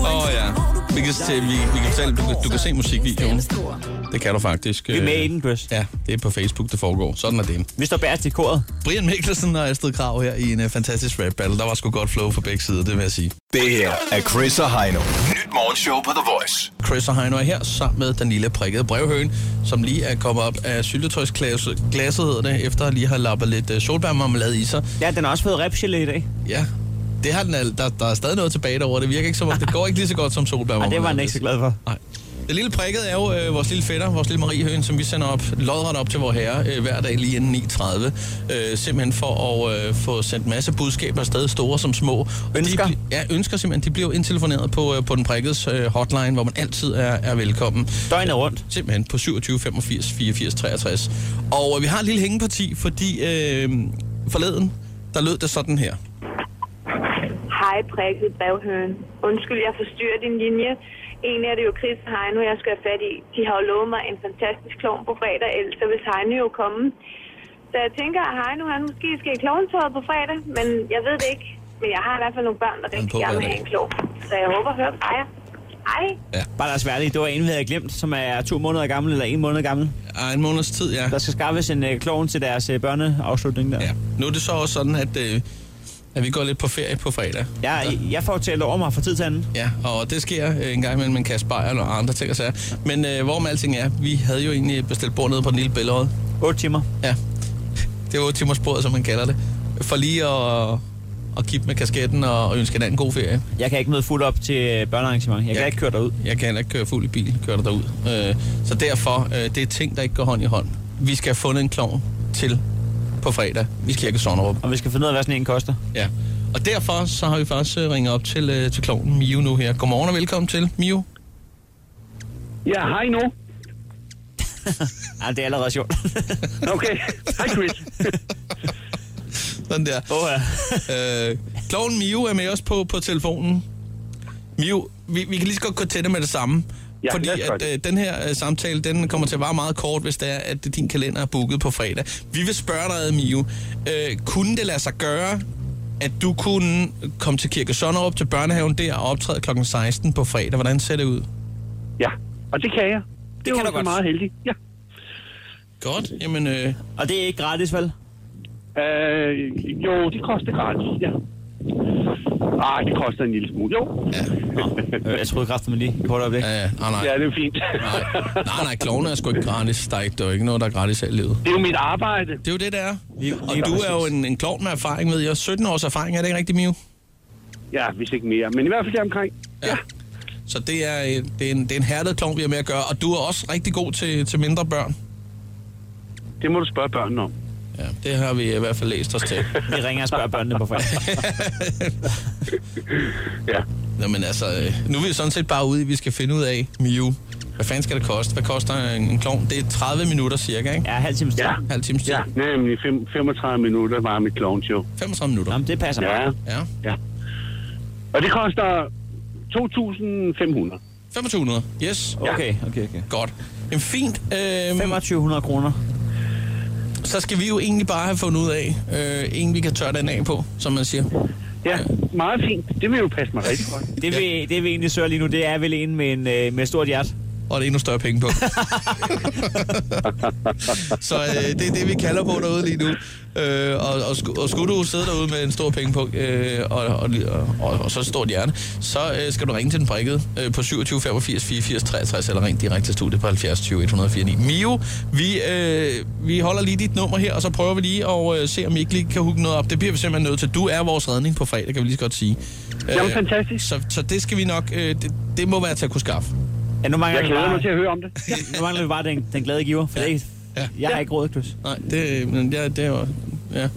Speaker 3: Åh oh, ja. Vi kan, se, vi, vi kan fortælle, du, kan- du kan se musikvideoen. Det kan du faktisk. Vi
Speaker 4: er med i den, Chris.
Speaker 3: Ja, det er på Facebook, det foregår. Sådan er det.
Speaker 4: Vi står bærest i koret.
Speaker 3: Brian Mikkelsen og Astrid Krav her i en uh, fantastisk rap battle. Der var sgu godt flow for begge sider, det vil jeg sige.
Speaker 5: Det her er Chris og Heino. Nyt morgenshow på The Voice.
Speaker 3: Chris og Heino er her sammen med den lille prikkede brevhøen, som lige er kommet op af syltetøjsglasset, glasset hedder det, efter at lige har lappet lidt uh, solbærmarmelade i sig.
Speaker 4: Ja, den har også fået repgelé i dag.
Speaker 3: Ja, det har den al- der, der er stadig noget tilbage derovre. Det virker ikke som om, det går ikke lige så godt som solbærmarmelade.
Speaker 4: Ej, det var han ikke så glad for.
Speaker 3: Nej. Det lille prikket er jo øh, vores lille fætter, vores lille Marie Høen, som vi sender op, lodret op til vor herre øh, hver dag lige inden 9.30. Øh, simpelthen for at øh, få sendt masse budskaber afsted, store som små. Ønsker? De, bli- ja, ønsker simpelthen. De bliver jo indtelefoneret på, øh, på den prikkedes øh, hotline, hvor man altid er, er velkommen. Øh,
Speaker 4: Døgnet rundt?
Speaker 3: Simpelthen på 27 85 84 63. Og øh, vi har et lille hængeparti, fordi øh, forleden, der lød det sådan her.
Speaker 15: Hej, prikket brevhøen. Undskyld, jeg forstyrrer din linje. Egentlig er det jo Chris og Heino, jeg skal have fat i. De har jo lovet mig en fantastisk klovn på fredag, ellers så vil Heino jo komme. Så jeg tænker, at Heino han måske skal i klovntøjet på fredag, men jeg ved det ikke. Men jeg har i hvert fald nogle børn, der rigtig
Speaker 4: på
Speaker 15: gerne vil
Speaker 4: fredag.
Speaker 15: have en klovn. Så jeg håber at høre fra jer. Hej.
Speaker 3: Ja.
Speaker 4: Bare lad os være ærlige, det var en, vi havde glemt, som er to måneder gammel eller en måned gammel.
Speaker 3: Ja, en måneds tid, ja.
Speaker 4: Der skal skaffes en øh, klovn til deres øh, børneafslutning der. Ja.
Speaker 3: Nu er det så også sådan, at, øh, at vi går lidt på ferie på fredag.
Speaker 4: Jeg, jeg får talt over mig fra tid til anden.
Speaker 3: Ja, og det sker øh, en gang imellem med Kasper Beyer og andre ting og sager. Men øh, hvorom alting er, vi havde jo egentlig bestilt bord nede på den lille bælgerød.
Speaker 4: 8 timer.
Speaker 3: Ja, det er 8 timers bordet, som man kalder det. For lige at, at kippe med kasketten og ønske hinanden god ferie.
Speaker 4: Jeg kan ikke møde fuld op til øh, børnearrangement. Jeg kan ikke køre derud.
Speaker 3: Jeg kan heller ikke køre fuld i bil, køre dig derud. Øh, så derfor, øh, det er ting, der ikke går hånd i hånd. Vi skal have fundet en klovn til på fredag i Kirke Sonnerup.
Speaker 4: Og vi skal finde ud af, hvad sådan en koster.
Speaker 3: Ja. Og derfor så har vi faktisk øh, ringet op til, øh, til klovnen Mio nu her. Godmorgen og velkommen til, Mio.
Speaker 16: Ja, hej nu.
Speaker 4: Ej, det er allerede sjovt.
Speaker 16: okay, hej Chris.
Speaker 3: Sådan der.
Speaker 4: Oh,
Speaker 3: ja. øh, kloven Mio er med os på, på telefonen. Mio, vi, vi kan lige så godt gå til det med det samme.
Speaker 17: Ja,
Speaker 3: fordi
Speaker 17: lad os gøre
Speaker 3: at, øh, den her øh, samtale, den kommer til at vare meget kort, hvis det er, at din kalender er booket på fredag. Vi vil spørge dig, ad, Mio, øh, kunne det lade sig gøre, at du kunne komme til Kirke Sønderup til børnehaven der og optræde kl. 16 på fredag? Hvordan ser det ud?
Speaker 16: Ja, og det kan jeg. Det, det kan du godt. meget heldig. Ja.
Speaker 3: Godt, jamen... Øh...
Speaker 4: Og det er ikke gratis, vel?
Speaker 16: Øh, jo, det koster gratis, ja. Ah, det koster en lille smule, jo.
Speaker 3: Ja.
Speaker 4: Øh, Jeg troede kraftigt med lige i kort øjeblik.
Speaker 3: Ja, ja. Ah, nej.
Speaker 16: ja, det er fint.
Speaker 3: Nej, nej, klovene er sgu ikke gratis. Der er ikke, der er jo ikke noget, der er gratis her i livet.
Speaker 16: Det er jo mit arbejde. Det
Speaker 3: er jo det, der er. Og du er jo en, en klovn med erfaring, ved jeg. 17 års erfaring, er det ikke rigtigt, Mio?
Speaker 16: Ja, hvis ikke mere. Men i hvert fald det omkring. Ja.
Speaker 3: Så det er, øh, det er, en, det er en hærdet klovn, vi har med at gøre. Og du er også rigtig god til, til mindre børn.
Speaker 6: Det må du spørge børnene om.
Speaker 3: Ja, det har vi i hvert fald læst os til.
Speaker 4: Vi ringer og spørger børnene på fredag.
Speaker 3: ja. Nå, men altså, øh, nu er vi sådan set bare ude i, at vi skal finde ud af, Miu, hvad fanden skal det koste? Hvad koster en, en klovn? Det er 30 minutter cirka, ikke?
Speaker 4: Ja, halv times tid.
Speaker 3: Ja. Halv times tid.
Speaker 6: Ja, nemlig fem- 35 minutter var mit clownshow.
Speaker 3: 35 minutter?
Speaker 4: Jamen, det passer
Speaker 6: ja.
Speaker 4: meget.
Speaker 3: Ja.
Speaker 6: ja. Og det koster 2.500.
Speaker 3: 2500, yes.
Speaker 4: Okay, okay, okay.
Speaker 3: Godt. En fint. Øh,
Speaker 4: 2500 kroner.
Speaker 3: Så skal vi jo egentlig bare have fundet ud af, øh, en vi kan tørre den af på, som man siger. Øh,
Speaker 6: Ja, meget fint. Det vil jo passe mig rigtig godt.
Speaker 4: Det vi, det vi egentlig søger lige nu, det er vel en med, en, øh, med stort hjerte.
Speaker 3: Og det er endnu større penge på. Så øh, det er det, vi kalder på derude lige nu. Øh, og, og, sku, og skulle du sidde derude med en stor pengepunkt øh, og, og, og, og så et stort hjerte, så øh, skal du ringe til den prikkede øh, på 27 85 84 63 eller ring direkte til studiet på 70 20 149. Mio, vi, øh, vi holder lige dit nummer her, og så prøver vi lige at øh, se, om I ikke lige kan hugge noget op. Det bliver vi simpelthen nødt til. Du er vores redning på fredag, kan vi lige så godt sige.
Speaker 6: Jamen,
Speaker 3: fantastisk. Så, så det skal vi nok, øh, det, det må være til at kunne skaffe.
Speaker 4: Ja, nu mangler
Speaker 6: Jeg
Speaker 4: vi
Speaker 6: glæder
Speaker 4: bare-
Speaker 6: mig til at høre om det.
Speaker 4: Nu mangler vi bare den, den glade giver, for ja. det,
Speaker 3: Ja.
Speaker 4: jeg har ikke råd, Klus.
Speaker 3: Nej, det, men det, er- det er jo... Ja. Det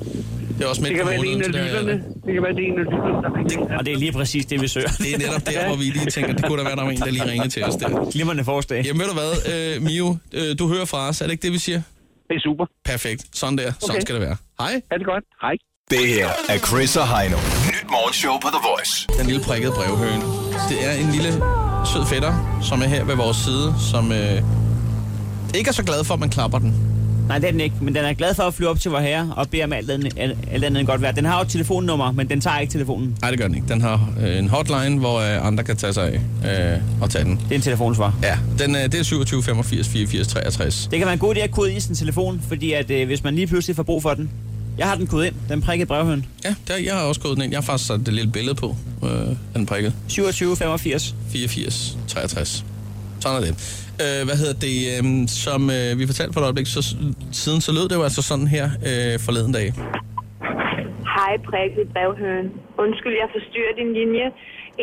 Speaker 3: er også midt
Speaker 6: Det kan
Speaker 3: på
Speaker 6: være det er
Speaker 3: måneden,
Speaker 6: en af
Speaker 3: så det er-
Speaker 6: lytterne. Det kan være det er en af lytterne, der ringer.
Speaker 4: Og det er lige præcis det, vi søger.
Speaker 3: Det er netop der, hvor vi lige tænker, det kunne da være, der var en, der lige ringede til os der.
Speaker 4: Glimrende forslag.
Speaker 3: Jamen ved du hvad, øh, Mio, øh, du hører fra os, er det ikke det, vi siger?
Speaker 6: Det er super.
Speaker 3: Perfekt, sådan der, sådan skal det være. Hej.
Speaker 6: Er det godt? Hej.
Speaker 18: Det her er Chris og Heino. Nyt morgenshow på The Voice.
Speaker 3: Den lille prikkede brevhøne. Det er en lille sød fætter, som er her ved vores side, som øh, ikke er så glad for, at man klapper den.
Speaker 4: Nej, det er den ikke, men den er glad for at flyve op til vor herre og bede om alt andet, alt andet end godt vejr. Den har jo et telefonnummer, men den tager ikke telefonen.
Speaker 3: Nej, det gør den ikke. Den har øh, en hotline, hvor øh, andre kan tage sig af øh, og tage den.
Speaker 4: Det er en telefonsvar.
Speaker 3: Ja, den, øh, det er 27 85 84 63.
Speaker 4: Det kan være en god idé at kode i sin telefon, fordi at, øh, hvis man lige pludselig får brug for den. Jeg har den kodet ind, den prikkede brevhøn.
Speaker 3: Ja, der, jeg har også gået den ind. Jeg har faktisk sat det lille billede på, øh, den prikket.
Speaker 4: 27 85.
Speaker 3: 84, 63. Sådan er det. Øh, hvad hedder det? Øh, som øh, vi fortalte for et øjeblik, så, s- siden så lød det jo altså sådan her øh, forleden dag.
Speaker 15: Hej, prikket brevhøen. Undskyld, jeg forstyrrer din linje.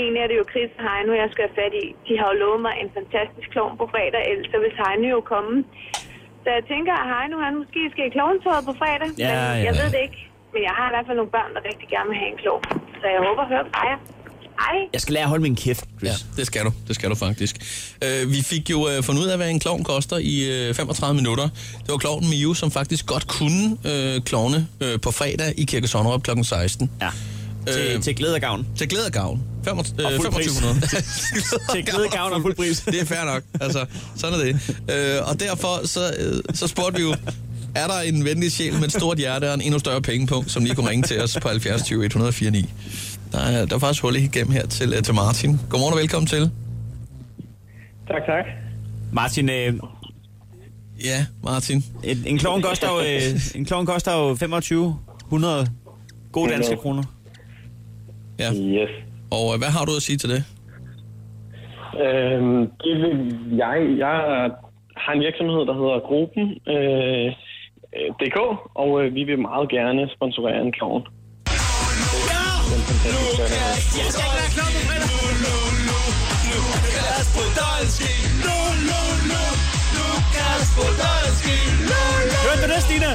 Speaker 15: En er det jo Chris og Heino, jeg skal have fat i. De har jo lovet mig en fantastisk klovn på fredag, ellers så vil Heino jo komme. Så jeg tænker, at Heino han måske skal i klovntøjet på fredag,
Speaker 4: Ja,
Speaker 15: men
Speaker 4: ja.
Speaker 15: jeg ved det ikke. Men jeg har i hvert fald nogle børn, der rigtig gerne vil have en klovn. Så jeg håber at høre fra jer. Hej.
Speaker 4: Jeg skal lære at holde min kæft, Chris.
Speaker 3: Ja, det skal du. Det skal du faktisk. Øh, vi fik jo øh, fundet ud af, hvad en klovn koster i øh, 35 minutter. Det var klovnen Miu, som faktisk godt kunne øh, klovne øh, på fredag i Kirke Sonnerup kl. 16.
Speaker 4: Ja. Til, til glæde og gavn.
Speaker 3: Til øh, glæde og gavn. 25,
Speaker 4: Og fuld pris.
Speaker 3: 2500.
Speaker 4: Til glæde, gavn og fuld pris.
Speaker 3: Det er fair nok. Altså, sådan er det. Øh, og derfor så, øh, så spurgte vi jo, er der en venlig sjæl med et stort hjerte og en endnu større pengepunkt, som lige kunne ringe til os på 70 20 149? Der er, der er faktisk hul igennem her til, øh, til Martin. Godmorgen og velkommen til.
Speaker 17: Tak, tak.
Speaker 4: Martin, øh,
Speaker 3: Ja, Martin.
Speaker 4: en, en klovn koster jo, øh, en klovn koster jo 25, 100 gode danske kroner.
Speaker 3: Ja.
Speaker 17: Yes.
Speaker 3: Og øh, hvad har du at sige til det?
Speaker 17: Øhm, det vil jeg, jeg har en virksomhed, der hedder Gruppen øh, øh, DK, og øh, vi vil meget gerne sponsorere en klovn.
Speaker 8: Jeg skal ikke være klar på fredag. Nu, nu, nu, nu kan os på danske. Nu, nu, nu, nu kan os på danske. Nu, nu.
Speaker 4: Hørte du det, Stine?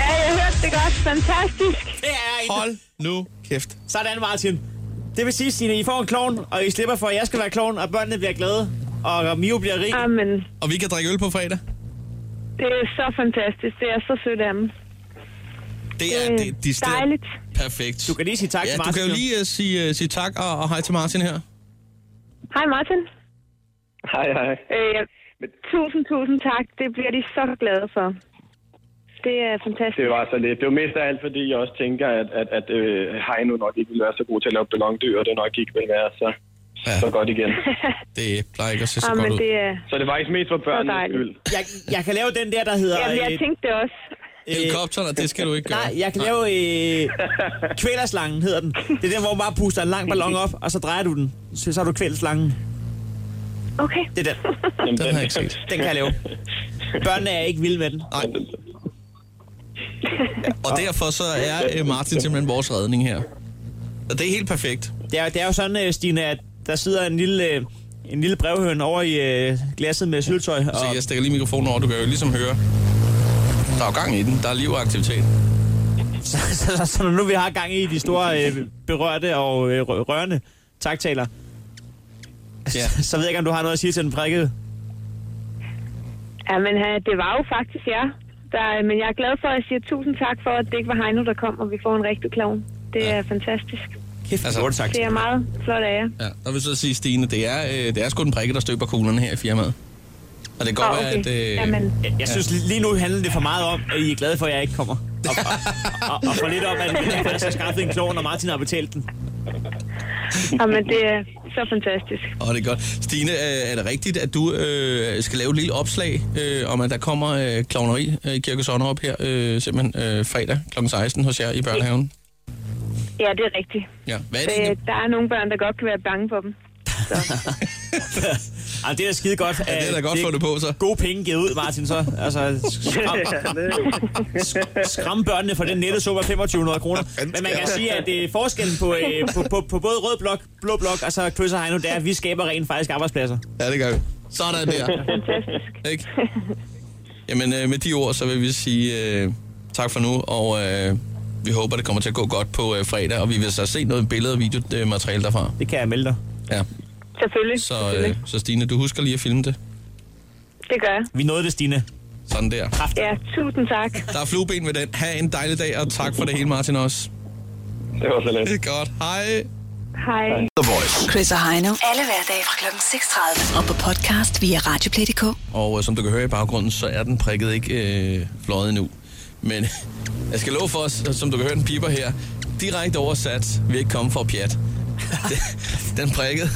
Speaker 15: Ja, jeg hørte det godt. Fantastisk.
Speaker 4: Det er en.
Speaker 3: Hold nu kæft.
Speaker 4: Sådan, Martin. Det vil sige, Stine, I får en klovn, og I slipper for, at jeg skal være klovn, og børnene bliver glade, og Mio bliver rig.
Speaker 15: Amen.
Speaker 3: Og vi kan drikke øl på fredag.
Speaker 15: Det er så fantastisk. Det er så sødt af dem.
Speaker 3: Det er det, de steder.
Speaker 15: Dejligt.
Speaker 3: Perfekt. Du
Speaker 4: Mm, kan lige sige tak
Speaker 3: ja,
Speaker 4: til
Speaker 3: du
Speaker 4: Martin,
Speaker 3: kan jo
Speaker 4: jo.
Speaker 3: lige uh, sige, uh, sige tak og, og hej til Martin her.
Speaker 15: Hej, Martin.
Speaker 17: Hej, hej.
Speaker 15: Øh, tusind, tusind tak. Det bliver de så glade for. Det er fantastisk.
Speaker 17: Det var så lidt. Det var mest af alt, fordi jeg også tænker, at, at, at øh, Heino nok ikke ville være så god til at lave ballondyr, og det nok ikke vil være så, ja. så godt igen.
Speaker 3: Det plejer ikke at se så
Speaker 15: Ah,
Speaker 3: godt
Speaker 15: men
Speaker 3: ud.
Speaker 15: det er
Speaker 17: Så det var ikke mest for
Speaker 15: så
Speaker 17: børnenes skyld.
Speaker 15: dejligt.
Speaker 4: Jeg, jeg kan lave den der, der hedder...
Speaker 15: Jamen, jeg
Speaker 4: øh,
Speaker 15: tænkte det også.
Speaker 3: Helikopteren, det skal du ikke gøre.
Speaker 4: Nej, jeg kan lave... Øh, kvælerslangen hedder den. Det er den, hvor man bare puster en lang ballon op, og så drejer du den. Så, så har du kvælerslangen.
Speaker 15: Okay.
Speaker 4: Det er den.
Speaker 17: Jamen,
Speaker 3: Den har jeg ikke set.
Speaker 4: Den kan jeg lave. Børnene er ikke vilde med den.
Speaker 3: Nej. Og derfor så er øh, Martin simpelthen vores redning her. Og det er helt perfekt.
Speaker 4: Det er, det er jo sådan, øh, Stine, at Der sidder en lille, øh, en lille brevhøn over i øh, glasset med syltøj.
Speaker 3: Så jeg stikker lige mikrofonen over, du kan jo ligesom høre. Der er jo gang i den, der er liv og aktivitet.
Speaker 4: så, så, så, så når nu vi har gang i de store øh, berørte og øh, rø- rørende taktaler, ja. så, så ved jeg ikke, om du har noget at sige til den prikkede.
Speaker 15: Ja, men øh, det var jo faktisk jer. Der, øh, men jeg er glad for, at jeg siger tusind tak for, at det ikke var Heino, der kom, og vi får en rigtig klovn. Det er fantastisk.
Speaker 4: Kæft,
Speaker 3: altså,
Speaker 15: Det er meget flot af jer.
Speaker 3: Ja, der vil så sige, Stine, det er, øh, det er sgu den prikke, der støber kuglerne her i firmaet. Og det kan godt
Speaker 15: Ah,
Speaker 3: være,
Speaker 15: okay.
Speaker 3: at... Øh,
Speaker 15: Jamen.
Speaker 4: Jeg, jeg synes li- lige nu handler det for meget om, at I er glade for, at jeg ikke kommer. Og, og, og, og for lidt om, at jeg faktisk har skaffet en klon, og Martin har betalt den.
Speaker 15: Ja, men det er så fantastisk.
Speaker 3: Og det er godt. Stine, øh, er det rigtigt, at du øh, skal lave et lille opslag øh, om, at der kommer øh, klovneri øh, i Kirke Sonderup her, øh, simpelthen øh, fredag kl. 16 hos jer i børnehaven?
Speaker 15: Ja, det er rigtigt.
Speaker 3: Ja. Hvad er det
Speaker 15: Øh, der er nogle børn, der godt kan være bange for dem.
Speaker 4: Ej, det er da skide godt. Ja, det er da godt få det
Speaker 3: på, så.
Speaker 4: Gode penge givet ud, Martin, så. Altså, skram, sk- skram børnene for den nette suppe af 2500 kroner. Men man kan sige, at øh, forskellen på, øh, på, på, på både rød blok, blå blok og så Chris og Heino, det er, at vi skaber rent faktisk arbejdspladser.
Speaker 3: Ja, det gør vi. Sådan der. Ikke? Jamen, øh, med de ord, så vil vi sige øh, tak for nu, og øh, vi håber, det kommer til at gå godt på øh, fredag, og vi vil så se noget billede- og videomateriale derfra.
Speaker 4: Det kan jeg melde dig.
Speaker 3: Ja.
Speaker 15: Selvfølgelig.
Speaker 3: Så, øh, så Stine, du husker lige at filme det.
Speaker 15: Det gør jeg.
Speaker 4: Vi nåede det, Stine.
Speaker 3: Sådan der.
Speaker 15: Ja, tusind tak.
Speaker 3: Der er flueben ved den. Ha' en dejlig dag, og tak for det hele, Martin, også.
Speaker 19: Det var så lidt.
Speaker 3: Det er godt. Hej.
Speaker 15: Hej.
Speaker 20: The Voice.
Speaker 2: Chris og Heino. Alle hverdage fra kl. 6.30. Og på podcast via Radioplay.dk.
Speaker 3: Og øh, som du kan høre i baggrunden, så er den prikket ikke øh, fløjet endnu. Men jeg skal love for os, som du kan høre, den piper her. Direkte oversat, vi er ikke komme for pjat. Den- den prikket,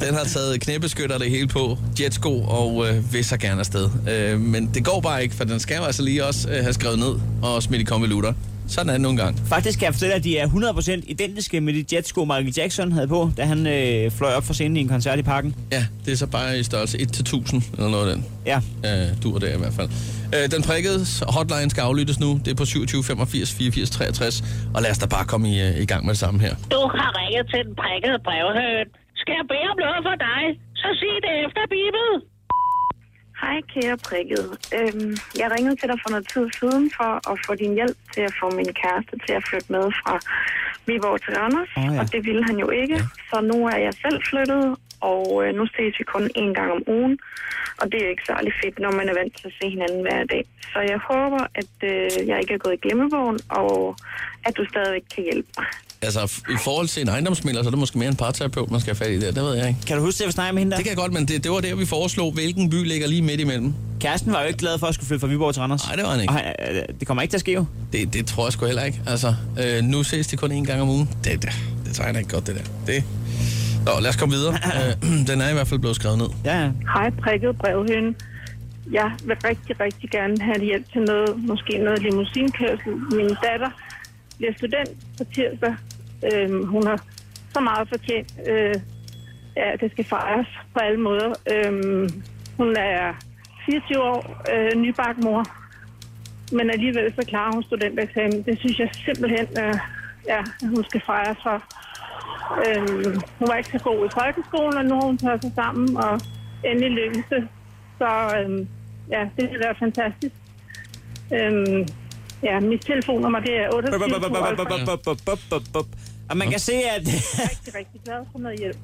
Speaker 3: den har taget knæbeskytter og det hele på, jetsko og øh, vil så gerne afsted. Øh, men det går bare ikke, for den skal jo altså lige også øh, have skrevet ned og smidt i konvolutter. Sådan er det nogle gange.
Speaker 4: Faktisk kan jeg fortælle, at de er 100% identiske med de jetsko, Michael Jackson havde på, da han øh, fløj op for scenen i en koncert i parken.
Speaker 3: Ja, det er så bare i størrelse 1-1000 eller noget af den.
Speaker 4: Ja.
Speaker 3: Øh, du og der i hvert fald. Øh, den prikkede hotline skal aflyttes nu. Det er på 27 85 84 63. Og lad os da bare komme i, øh, i gang med det samme her.
Speaker 21: Du har ringet til den prikkede brevhøn. Skal jeg bede om noget for dig, så sig det efter Bibel.
Speaker 15: Hej, kære prikket. Øhm, jeg ringede til dig for noget tid siden for at få din hjælp til at få min kæreste til at flytte med fra Viborg til Randers,
Speaker 22: Åh,
Speaker 15: oh,
Speaker 22: ja.
Speaker 15: ja. og det ville han jo ikke. Ja. Så nu er jeg selv flyttet, og øh, nu ses vi kun én gang om ugen, og det er ikke særlig fedt, når man er vant til at se hinanden hver dag. Så jeg håber, at øh, jeg ikke er gået i glemmebogen, og at du stadigvæk kan hjælpe mig.
Speaker 3: Altså, f- i forhold til en ejendomsmælder, så er det måske mere en parterapeut, man skal have fat i der. Det ved jeg ikke.
Speaker 4: Kan du huske det, vi snakkede med hende der?
Speaker 3: Det kan jeg godt, men det, det var der, vi foreslog, hvilken by ligger lige midt imellem.
Speaker 4: Kæresten var jo ikke glad for at skulle flytte fra Viborg til Randers.
Speaker 3: Nej, det var han ikke.
Speaker 4: Og han, øh, det kommer ikke til at ske jo.
Speaker 3: Det, det tror jeg sgu heller ikke. Altså, øh, nu ses det kun én gang om ugen. Det, det, det tegner ikke godt, det der. Det. Nå, lad os komme videre. øh, den er i hvert fald blevet skrevet ned.
Speaker 4: Ja, ja.
Speaker 22: Hej, prikket brevhøn. Jeg vil rigtig, rigtig gerne have hjælp til noget, måske noget limousinkørsel. Min datter bliver student på tirsdag. Øhm, hun har så meget fortjent. Øh, ja, det skal fejres på alle måder. Øhm, hun er 24 år, øh, nybagt mor. Men alligevel så klarer hun studentereksamen. Det synes jeg simpelthen, øh, ja, at hun skal fejres for. Øhm, hun var ikke så god i folkeskolen, og nu har hun taget sig sammen, og endelig lykkes det. Så øhm, ja, det vil være fantastisk. Øhm, ja, mit telefonnummer, det er 28.
Speaker 4: Bup, bup, bup, bup, bup, bup, bup, bup, bup, bup. Og man kan se, at...
Speaker 22: rigtig, rigtig glad for noget hjælp.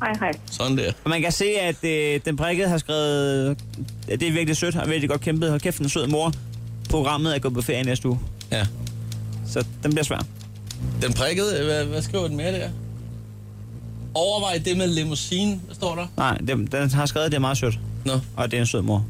Speaker 22: Hej, hej.
Speaker 3: Sådan der.
Speaker 4: Og man kan se, at øh, den prikkede har skrevet... at det er virkelig sødt, og virkelig godt kæmpet. Hold kæft, den sød mor. Programmet er gået på ferie næste uge.
Speaker 3: Ja.
Speaker 4: Så den bliver svær.
Speaker 3: Den prikkede, øh, hvad, hvad skriver den mere der? Overvej det med limousine, hvad står der?
Speaker 4: Nej, den, den har skrevet, at det er meget sødt.
Speaker 3: Nå.
Speaker 4: Og det er en sød mor.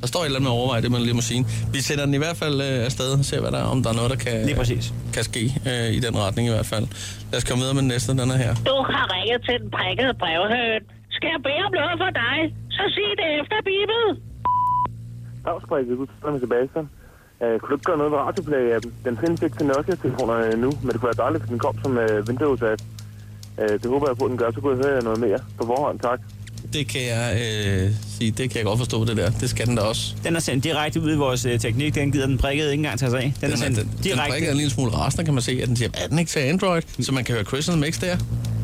Speaker 3: Der står et eller andet med overvej det med limousine. Vi sender den i hvert fald øh, afsted og ser, hvad der er, om der er noget, der kan,
Speaker 4: Lige præcis.
Speaker 3: kan ske øh, i den retning i hvert fald. Lad os komme videre med den næste, den er her.
Speaker 21: Du har ringet til den prikkede brevhøn. Skal jeg bede om noget for dig, så sig det efter Bibel.
Speaker 6: Dagsbrækket, du taler med Sebastian. Øh, kunne du ikke gøre noget ved radioplay-appen? Den findes ikke til Nokia-telefonerne nu, men det kunne være dejligt, hvis den kom som øh, Windows-app. Øh, det håber jeg på, at den gør, så kunne jeg høre jer noget mere. På forhånd, tak.
Speaker 3: Det kan jeg øh, sige, det kan jeg godt forstå det der. Det skal den da også.
Speaker 4: Den er sendt direkte ud i vores øh, teknik. Den gider den prikkede ikke engang tage sig af. Den, er sendt
Speaker 3: den, den
Speaker 4: direkte.
Speaker 3: prikker en lille smule rasende, kan man se, at den siger, er den ikke til Android? Så man kan høre Christian Mix der.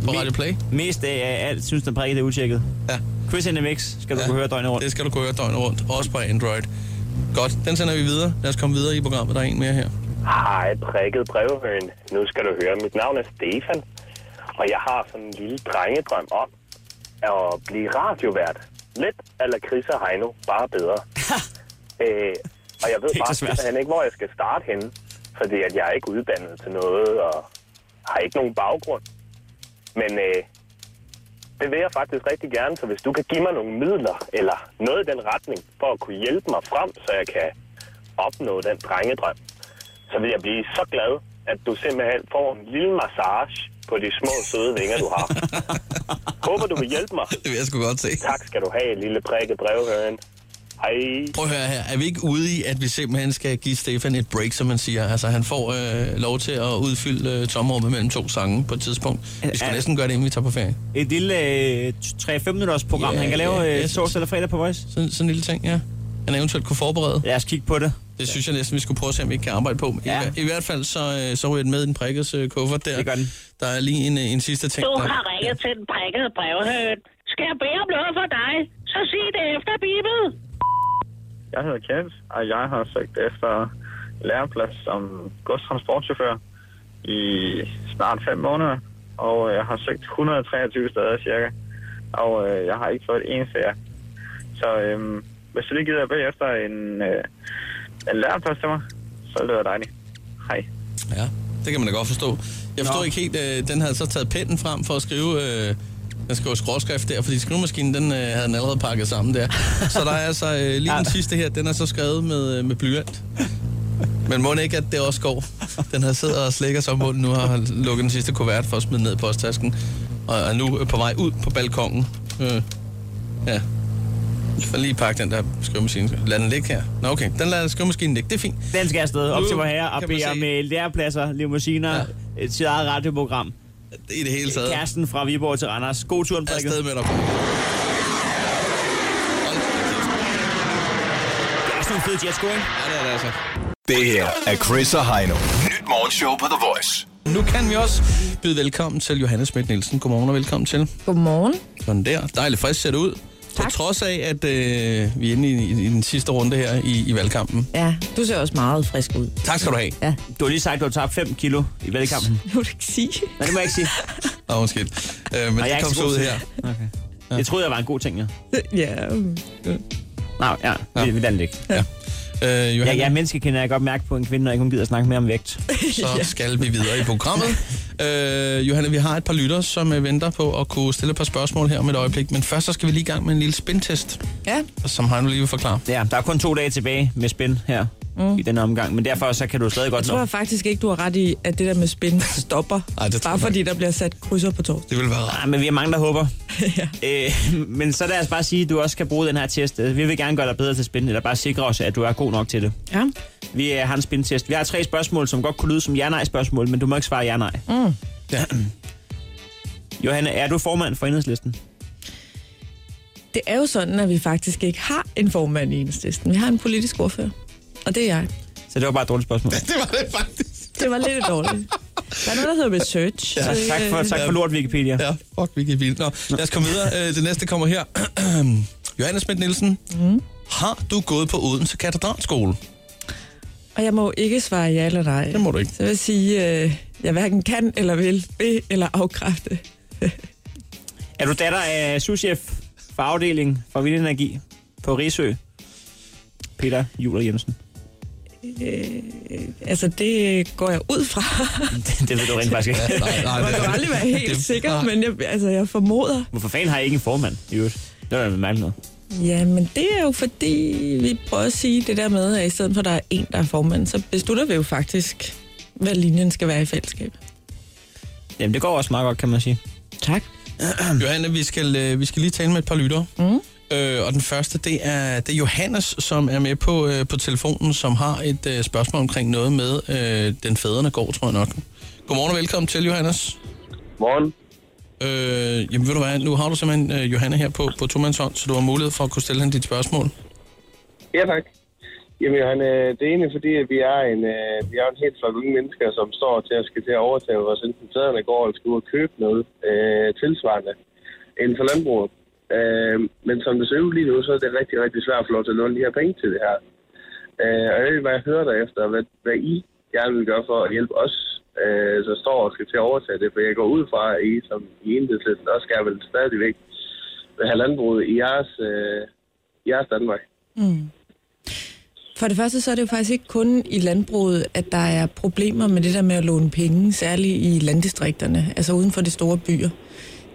Speaker 3: på Radio Play.
Speaker 4: Mest af alt synes den prikket er utjekket.
Speaker 3: Ja.
Speaker 4: Chris in the mix skal du
Speaker 3: Ja.
Speaker 4: kunne høre døgnet rundt.
Speaker 3: Det skal du kunne høre døgnet rundt, også på Android. Godt, den sender vi videre. Lad os komme videre i programmet. Der er en mere her.
Speaker 23: Hej, prikket brevhøen. Nu skal du høre, mit navn er Stefan, og jeg har sådan en lille drengedrøm om at blive radiovært. Lidt eller Chris og Heino, bare bedre. øh, og jeg ved
Speaker 24: Det er ikke
Speaker 23: bare
Speaker 24: så svært.
Speaker 23: simpelthen ikke, hvor jeg skal starte henne, fordi at jeg er ikke uddannet til noget, og har ikke nogen baggrund. Men øh, det vil jeg faktisk rigtig gerne, så hvis du kan give mig nogle midler, eller noget i den retning, for at kunne hjælpe mig frem, så jeg kan opnå den drengedrøm, så vil jeg blive så glad, at du simpelthen får en lille massage på de små søde vinger, du har. Håber, du vil hjælpe mig.
Speaker 3: Det vil jeg sgu godt se.
Speaker 23: Tak skal du have, lille prikke brevhøren. Hej.
Speaker 3: Prøv at høre her. Er vi ikke ude i, at vi simpelthen skal give Stefan et break, som man siger? Altså, han får øh, lov til at udfylde øh, tomrummet mellem to sange på et tidspunkt. Vi skal
Speaker 4: Ja.
Speaker 3: næsten gøre det, inden vi tager på ferie.
Speaker 4: Et lille øh, 3-5 minutters program,
Speaker 3: Ja,
Speaker 4: han kan lave
Speaker 3: ja,
Speaker 4: øh,
Speaker 3: jeg
Speaker 4: torsdag eller fredag på Voice.
Speaker 3: Sådan, sådan en lille ting, ja. Han eventuelt kunne forberede.
Speaker 4: Lad os kigge på det.
Speaker 3: Det synes jeg næsten, vi skulle prøve at se, om vi ikke kan arbejde på. Ja. I, hver- I hvert fald, så, øh, så ryger den med i den prikkes øh, kuffert der. Det gør den. Der er lige en, øh, en sidste ting.
Speaker 21: Du
Speaker 3: der-
Speaker 21: har ringet til den prikkede brevhøn. Skal jeg bede om noget for dig, så sig det efter bibel.
Speaker 6: Jeg hedder Kent, og jeg har søgt efter læreplads som godstransportchauffør i snart fem måneder. Og øh, jeg har søgt 123 steder cirka, og øh, jeg har ikke fået et eneste af. Så øhm, hvis du lige gider at bede efter en, øh, en læreplads til mig, så ville det være dejligt. Hej.
Speaker 3: Ja, det kan man da godt forstå. Jeg forstår Nå. ikke helt, øh, den havde så taget pennen frem for at skrive... Øh, den skriver skråskrift der, fordi skrivemaskinen, den øh, havde den allerede pakket sammen der. Så der er altså øh, lige den sidste her, den er så skrevet med, øh, med blyant. Men må ikke, at det også går. Den har siddet og slikker sig om munden nu, og har lukket den sidste kuvert for at smide ned i posttasken. Og er nu øh, på vej ud på balkongen. Øh, ja. For lige pakke den der skrivemaskine. Lad den ligge her. Nå okay, den lader skrivemaskinen ligge. Det er fint.
Speaker 4: Den skal afsted op
Speaker 3: Nu
Speaker 4: til vor herre og
Speaker 3: kan man
Speaker 4: bede om
Speaker 3: se-
Speaker 4: øh, lærepladser, limousiner, ja. et sit eget radioprogram.
Speaker 3: I det hele taget.
Speaker 4: Kæresten fra Viborg til Randers. God tur, Prikket.
Speaker 3: Afsted med dig.
Speaker 4: Det er sådan en fed jetsko, ikke?
Speaker 3: Ja, det er det altså.
Speaker 25: Det her er Chris og Heino. Nyt morgenshow på The Voice.
Speaker 3: Nu kan vi også byde velkommen til Johannes Schmidt Nielsen. Godmorgen og velkommen til.
Speaker 26: Godmorgen.
Speaker 3: Sådan der. Dejligt frisk ser det ud. Tak. På trods af, at øh, vi er inde i, i, i den sidste runde her i, i valgkampen.
Speaker 26: Ja, du ser også meget frisk ud.
Speaker 3: Tak skal du have.
Speaker 26: Ja.
Speaker 4: Du har lige sagt, at du har tabt 5 kilo i valgkampen.
Speaker 26: Det må du ikke sige.
Speaker 4: Nej, det må jeg ikke sige.
Speaker 3: Åh, oh, undskyld. Øh,
Speaker 4: Og jeg
Speaker 3: men
Speaker 4: er
Speaker 3: det
Speaker 4: ikke
Speaker 3: kom
Speaker 4: så
Speaker 3: så
Speaker 4: god
Speaker 3: ud
Speaker 4: til
Speaker 3: her.
Speaker 4: det. Okay. Ja. Jeg troede, jeg var en god ting, ja.
Speaker 26: ja. Mm.
Speaker 4: Nej, ja, ja. vi, vi lader det ligge.
Speaker 3: Ja. Øh,
Speaker 4: jeg, jeg er menneskekender, jeg kan godt mærke på en kvinde, når ikke hun gider at snakke mere om vægt.
Speaker 3: Så skal vi videre i programmet. Øh, Johanne, vi har et par lytter, som øh, venter på at kunne stille et par spørgsmål her om et øjeblik. Men først så skal vi lige i gang med en lille spintest,
Speaker 26: Ja.
Speaker 3: som Heino lige vil forklare.
Speaker 4: Ja, der er kun to dage tilbage med spin her mm. i denne omgang, men derfor så kan du stadig
Speaker 26: Jeg
Speaker 4: godt
Speaker 26: tror
Speaker 4: nå.
Speaker 26: jeg faktisk ikke, du har ret i, at det der med spin stopper.
Speaker 3: Ej, det tror
Speaker 26: bare
Speaker 3: jeg
Speaker 26: fordi der bliver sat krydser på torsdag.
Speaker 3: Det vil være rart.
Speaker 4: Nej, men vi er mange, der håber. ja. øh, men så lad os bare sige, at du også kan bruge den her test. Øh, Vi vil gerne gøre dig bedre til spin, eller bare sikre os, at du er god nok til det.
Speaker 26: Ja.
Speaker 4: Vi øh, har en spin-test. Vi har tre spørgsmål, som godt kunne lyde som ja-nej-spørgsmål, men du må ikke svare ja-nej.
Speaker 26: Mm.
Speaker 3: Ja.
Speaker 4: Johanne, er du formand for enhedslisten?
Speaker 26: Det er jo sådan, at vi faktisk ikke har en formand i enhedslisten. Vi har en politisk ordfører, og det er jeg.
Speaker 4: Så det var bare et dårligt spørgsmål.
Speaker 3: Det var det faktisk.
Speaker 26: Det var lidt dårligt. Der er noget, der hedder research.
Speaker 4: Ja,
Speaker 26: så,
Speaker 4: tak for,
Speaker 26: øh,
Speaker 4: tak for lort, Wikipedia.
Speaker 3: Ja, fuck Wikipedia. Nå, lad os komme videre. Øh, Det næste kommer her. Johannes Schmidt Nielsen, mm. har du gået på Odense Katedralskole?
Speaker 26: øh, Og jeg må ikke svare ja eller nej. Det
Speaker 3: må du ikke.
Speaker 26: Så vil jeg sige, øh, jeg hverken kan eller vil be- eller afkræfte.
Speaker 4: Er du datter af souschef for afdeling for Vild Energi på Risø? Peter Juler Jensen.
Speaker 26: Øh, altså, det går jeg ud fra.
Speaker 4: Det, det ved du rent faktisk ikke.
Speaker 26: Ja, nej, nej, Man kan jo aldrig være helt
Speaker 4: ah.
Speaker 26: sikker, men jeg, altså, jeg formoder.
Speaker 4: Hvorfor fanden har I ikke en formand i øvrigt? Det var da mærkeligt noget.
Speaker 26: Ja, men det er jo fordi, vi prøver at sige det der med, at i stedet for, at der er en, der er formand, så beslutter vi jo faktisk, hvad linjen skal være i fællesskab.
Speaker 4: Jamen, det går også meget godt, kan man sige.
Speaker 26: Tak.
Speaker 3: Johanne, vi skal, øh, vi skal lige tale med et par lyttere.
Speaker 26: Mm.
Speaker 3: Øh, og den første, det er, det er Johannes, som er med på, øh, på telefonen, som har et øh, spørgsmål omkring noget med øh, den fædrene går, tror jeg nok. Godmorgen og velkommen til, Johannes.
Speaker 17: Morgen.
Speaker 3: Øh, jamen ved du hvad, nu har du simpelthen øh, Johanne her på, på tomandshånd, så du har mulighed for at kunne stille hende dit spørgsmål.
Speaker 17: Ja, tak. Jamen, Johan, øh, det ene er fordi, at vi er en, øh, vi er en helt flok unge mennesker, som står til at skal til at overtage vores enten tæderne går, eller skal ud og købe noget øh, tilsvarende inden for landbruget. Øh, men som det ser ud lige nu, så er det rigtig, rigtig svært at få lov til at låne de her penge til det her. Øh, og jeg ved, hvad jeg hører dig efter, hvad, hvad I gerne vil gøre for at hjælpe os, øh, så står og skal til at overtage det. For jeg går ud fra, at I som i enhedslisten også gerne vil stadigvæk vil have landbruget i jeres, øh, i jeres Danmark.
Speaker 26: Mm. For det første, så er det jo faktisk ikke kun i landbruget, at der er problemer med det der med at låne penge, særligt i landdistrikterne, altså uden for de store byer.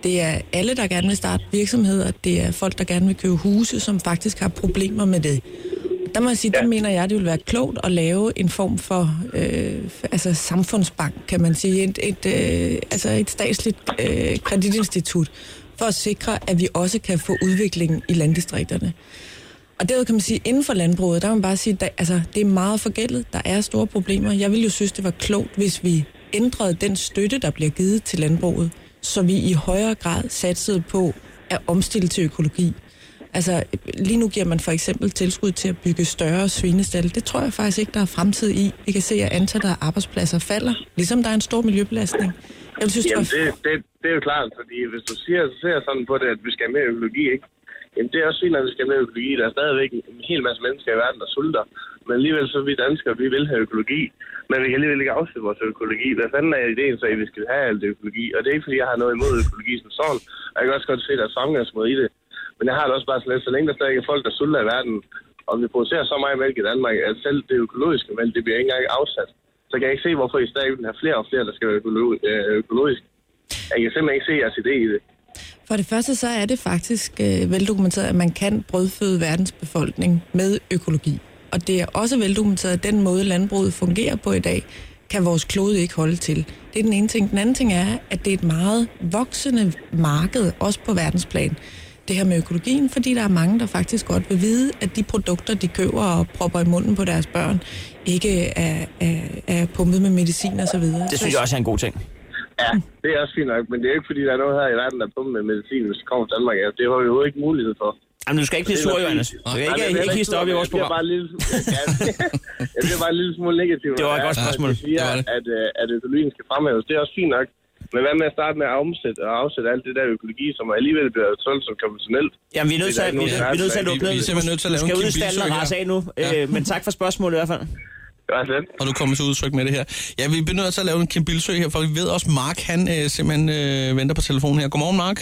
Speaker 26: Det er alle, der gerne vil starte virksomheder, det er folk, der gerne vil købe huse, som faktisk har problemer med det. Der må jeg sige, ja. der mener jeg, det vil være klogt at lave en form for øh, altså samfundsbank, kan man sige, et, et, øh, altså et statsligt øh, kreditinstitut, for at sikre, at vi også kan få udvikling i landdistrikterne. Og derudover kan man sige, inden for landbruget, der kan man bare sige, at altså, det er meget forgældet, der er store problemer. Jeg ville jo synes, det var klogt, hvis vi ændrede den støtte, der bliver givet til landbruget, så vi i højere grad satsede på at omstille til økologi. Altså, lige nu giver man for eksempel tilskud til at bygge større svinestalde. Det tror jeg faktisk ikke, der er fremtid i. Vi kan se, at antallet af arbejdspladser falder, ligesom der er en stor miljøbelastning. Jeg ville synes, det var
Speaker 17: Jamen, det, det, det er jo klart, fordi hvis du siger, ser sådan på det, at vi skal have mere økologi, ikke? Jamen, det er også fint, at vi skal have mere økologi. Der er stadigvæk en hel masse mennesker i verden, der sulter. Men alligevel så er vi danskere, vi vil have økologi. Men vi kan alligevel ikke afsætte vores økologi. Hvad fanden er ideen så, at vi skal have alt det økologi? Og det er ikke, fordi jeg har noget imod økologi som sådan. Og jeg kan også godt se, at der er fremgangsmåde i det. Men jeg har det også bare sådan lidt, så længe der stadig er folk, der sulter i verden, og vi producerer så meget mælk i Danmark, at selv det økologiske mælk, det bliver ikke engang afsat. Så kan jeg ikke se, hvorfor I stadig vil have flere og flere, der skal være økolo- øh, økologisk. Jeg kan simpelthen ikke se jeres idé i det.
Speaker 26: For det første, så er det faktisk øh, veldokumenteret, at man kan brødføde verdens befolkning med økologi. Og det er også veldokumenteret, at den måde, landbruget fungerer på i dag, kan vores klode ikke holde til. Det er den ene ting. Den anden ting er, at det er et meget voksende marked, også på verdensplan, det her med økologien, fordi der er mange, der faktisk godt vil vide, at de produkter, de køber og propper i munden på deres børn, ikke er, er, er pumpet med medicin osv.
Speaker 4: Det synes jeg også er en god ting.
Speaker 17: Ja, det er også fint nok, men det er jo ikke, fordi der er noget her i verden, der er på med medicin, hvis det kommer til Danmark. Altså, det har vi jo ikke mulighed for.
Speaker 4: Jamen, du skal ikke blive sur, Johannes. Altså, Du skal ikke, ikke hisse dig op i vores
Speaker 17: program. Bare en lille, ja, jeg bliver bare en lille smule negativ.
Speaker 4: Det var et
Speaker 17: når
Speaker 4: godt
Speaker 17: jeg-
Speaker 4: spørgsmål.
Speaker 17: At, de siger,
Speaker 4: Det var det.
Speaker 17: at, øh, at økologien skal fremhæves. Det er også fint nok. Men hvad med at starte med at omsætte og afsætte alt det der økologi, som alligevel bliver solgt som konventionelt?
Speaker 4: Jamen, vi er nødt til, at, vi, er- vi er nødt til at lukke ned. Du skal ud i stallen og rase af nu.
Speaker 3: Ja.
Speaker 4: Øh, men tak for spørgsmålet i hvert fald.
Speaker 3: Og du kommer til udtryk med det her. Ja, vi bliver nødt til at lave en Kim Bilsø her, for vi ved også, Mark, han øh, simpelthen øh, venter på telefonen her. Godmorgen, Mark.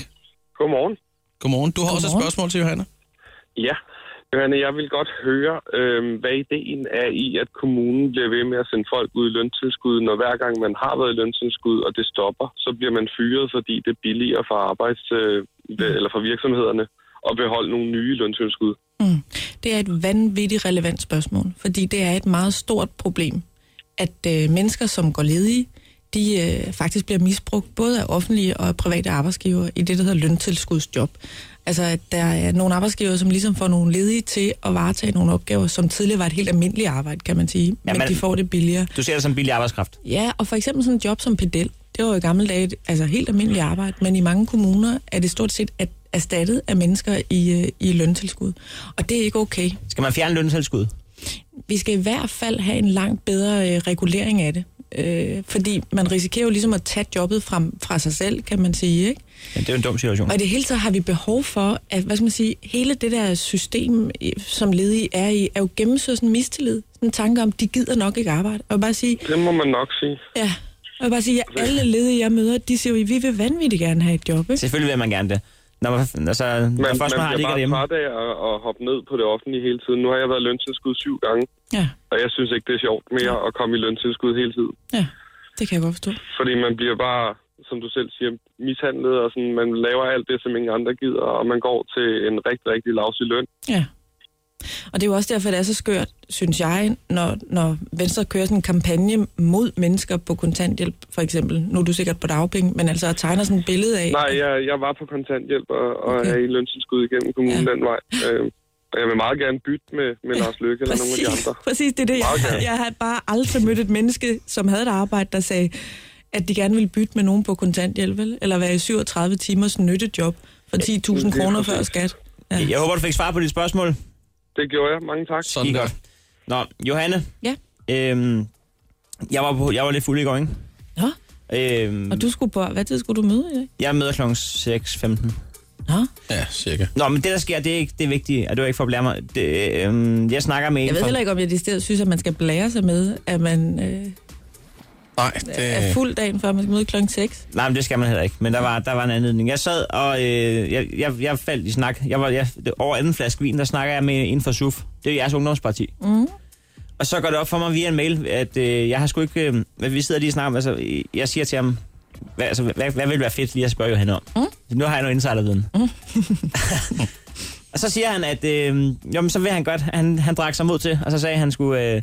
Speaker 1: Godmorgen.
Speaker 3: Godmorgen. Du har Godmorgen. også et spørgsmål til Johanna.
Speaker 1: Ja, Johanne, jeg vil godt høre, øh, hvad ideen er i, at kommunen bliver ved med at sende folk ud i løntilskud, når hver gang man har været i løntilskud, og det stopper, så bliver man fyret, fordi det er billigere for, arbejds, øh, eller for virksomhederne at beholde nogle nye løntilskud.
Speaker 26: Mm. Det er et vanvittigt relevant spørgsmål, fordi det er et meget stort problem, at øh, mennesker, som går ledige, de øh, faktisk bliver misbrugt både af offentlige og af private arbejdsgivere i det, der hedder løntilskudsjob. Altså, at der er nogle arbejdsgivere, som ligesom får nogle ledige til at varetage nogle opgaver, som tidligere var et helt almindeligt arbejde, kan man sige, men
Speaker 4: Jamen,
Speaker 26: de får det billigere.
Speaker 4: Du ser det som billig arbejdskraft.
Speaker 26: Ja, og for eksempel sådan et job som pedel, det var jo i gamle dage et altså helt almindeligt arbejde, men i mange kommuner er det stort set at erstattet af mennesker i, øh, i løntilskud. Og det er ikke okay.
Speaker 4: Skal man fjerne løntilskud?
Speaker 26: Vi skal i hvert fald have en langt bedre øh, regulering af det. Øh, fordi man risikerer jo ligesom at tage jobbet fra, fra sig selv, kan man sige, ikke?
Speaker 4: Ja, det er jo en dum situation.
Speaker 26: Og i det hele taget har vi behov for, at hvad skal man sige, hele det der system, i- som ledige er i, er jo gennemsøget sådan en mistillid. Sådan en tanke om, de gider nok ikke arbejde. Og jeg vil bare sige,
Speaker 1: Det må man nok sige.
Speaker 26: Ja, og jeg vil bare sige, at alle ledige, jeg møder, de siger jo, vi vil vanvittigt gerne have et job, ikke?
Speaker 4: Selvfølgelig vil man gerne det. Når man, altså, når
Speaker 1: Man,
Speaker 4: først man,
Speaker 1: man
Speaker 4: har det
Speaker 1: bliver
Speaker 4: ikke
Speaker 1: bare
Speaker 4: derhjemme.
Speaker 1: træt af at, at hoppe ned på det offentlige hele tiden. Nu har jeg været i løntilskud syv gange,
Speaker 26: Ja.
Speaker 1: og jeg synes ikke, det er sjovt mere at komme i løntilskud hele tiden.
Speaker 26: Ja, det kan jeg godt forstå.
Speaker 1: Fordi man bliver bare, som du selv siger, mishandlet, og sådan, man laver alt det, som ingen andre gider, og man går til en rigtig, rigtig lavsig løn.
Speaker 26: Ja. Og det er jo også derfor, det er så skørt, synes jeg, når, når Venstre kører sådan en kampagne mod mennesker på kontanthjælp, for eksempel. Nu er du sikkert på dagpenge, men altså tegner sådan et billede af...
Speaker 1: Nej, jeg, jeg var på kontanthjælp og, og okay. er i løntilskud igennem kommunen ja. den vej. Øh, og jeg vil meget gerne bytte med, med Lars Løkke eller nogle af de andre.
Speaker 26: Præcis, det er det.
Speaker 1: Meget
Speaker 26: Jeg,
Speaker 1: gerne.
Speaker 26: jeg har bare aldrig mødt et menneske, som havde et arbejde, der sagde, at de gerne ville bytte med nogen på kontanthjælp, vel? eller være i 37 timers nyttejob for 10.000
Speaker 1: det er
Speaker 26: kroner
Speaker 1: præcis.
Speaker 26: før skat.
Speaker 4: Jeg håber, du fik svar på dit spørgsmål.
Speaker 1: Det gjorde jeg. Mange tak.
Speaker 4: Sådan godt. Nå, Johanne.
Speaker 26: Ja.
Speaker 4: Øhm, jeg, var på, jeg var lidt fuld i går, ikke?
Speaker 26: Nå.
Speaker 4: Øhm,
Speaker 26: Og du skulle på, hvad tid skulle du møde i dag?
Speaker 4: Jeg møder kl. 6.15.
Speaker 26: Nå?
Speaker 3: Ja, cirka.
Speaker 4: Nå, men det, der sker, det er ikke det vigtige, og det var ikke for at blære mig. Det, øhm, jeg snakker med en
Speaker 26: Jeg ved
Speaker 4: fra-
Speaker 26: heller ikke, om jeg decideret synes, at man skal blære sig med, at man øh,
Speaker 3: Nej,
Speaker 26: er fuld dagen før, man skal møde klokken 6.
Speaker 4: Nej, men det skal man heller ikke. Men der var, der var en anledning. Jeg sad, og øh, jeg, jeg, jeg faldt i snak. Jeg var, jeg, det- over anden flaske vin, der snakker jeg med en fra SUF. Det er jeres ungdomsparti.
Speaker 26: Mm.
Speaker 4: Og så går det op for mig via en mail, at øh, jeg har sgu ikke... Øh, hvad vi sidder lige og snakker om, altså, øh, jeg siger til ham, hvad, altså, hvad, hvad vil være fedt lige at spørge Johan om? Mm. Nu har jeg noget insiderviden. Mm. og så siger han, at øh, jo, men så vil han godt, han, han drak sig mod til, og så sagde han skulle... Øh,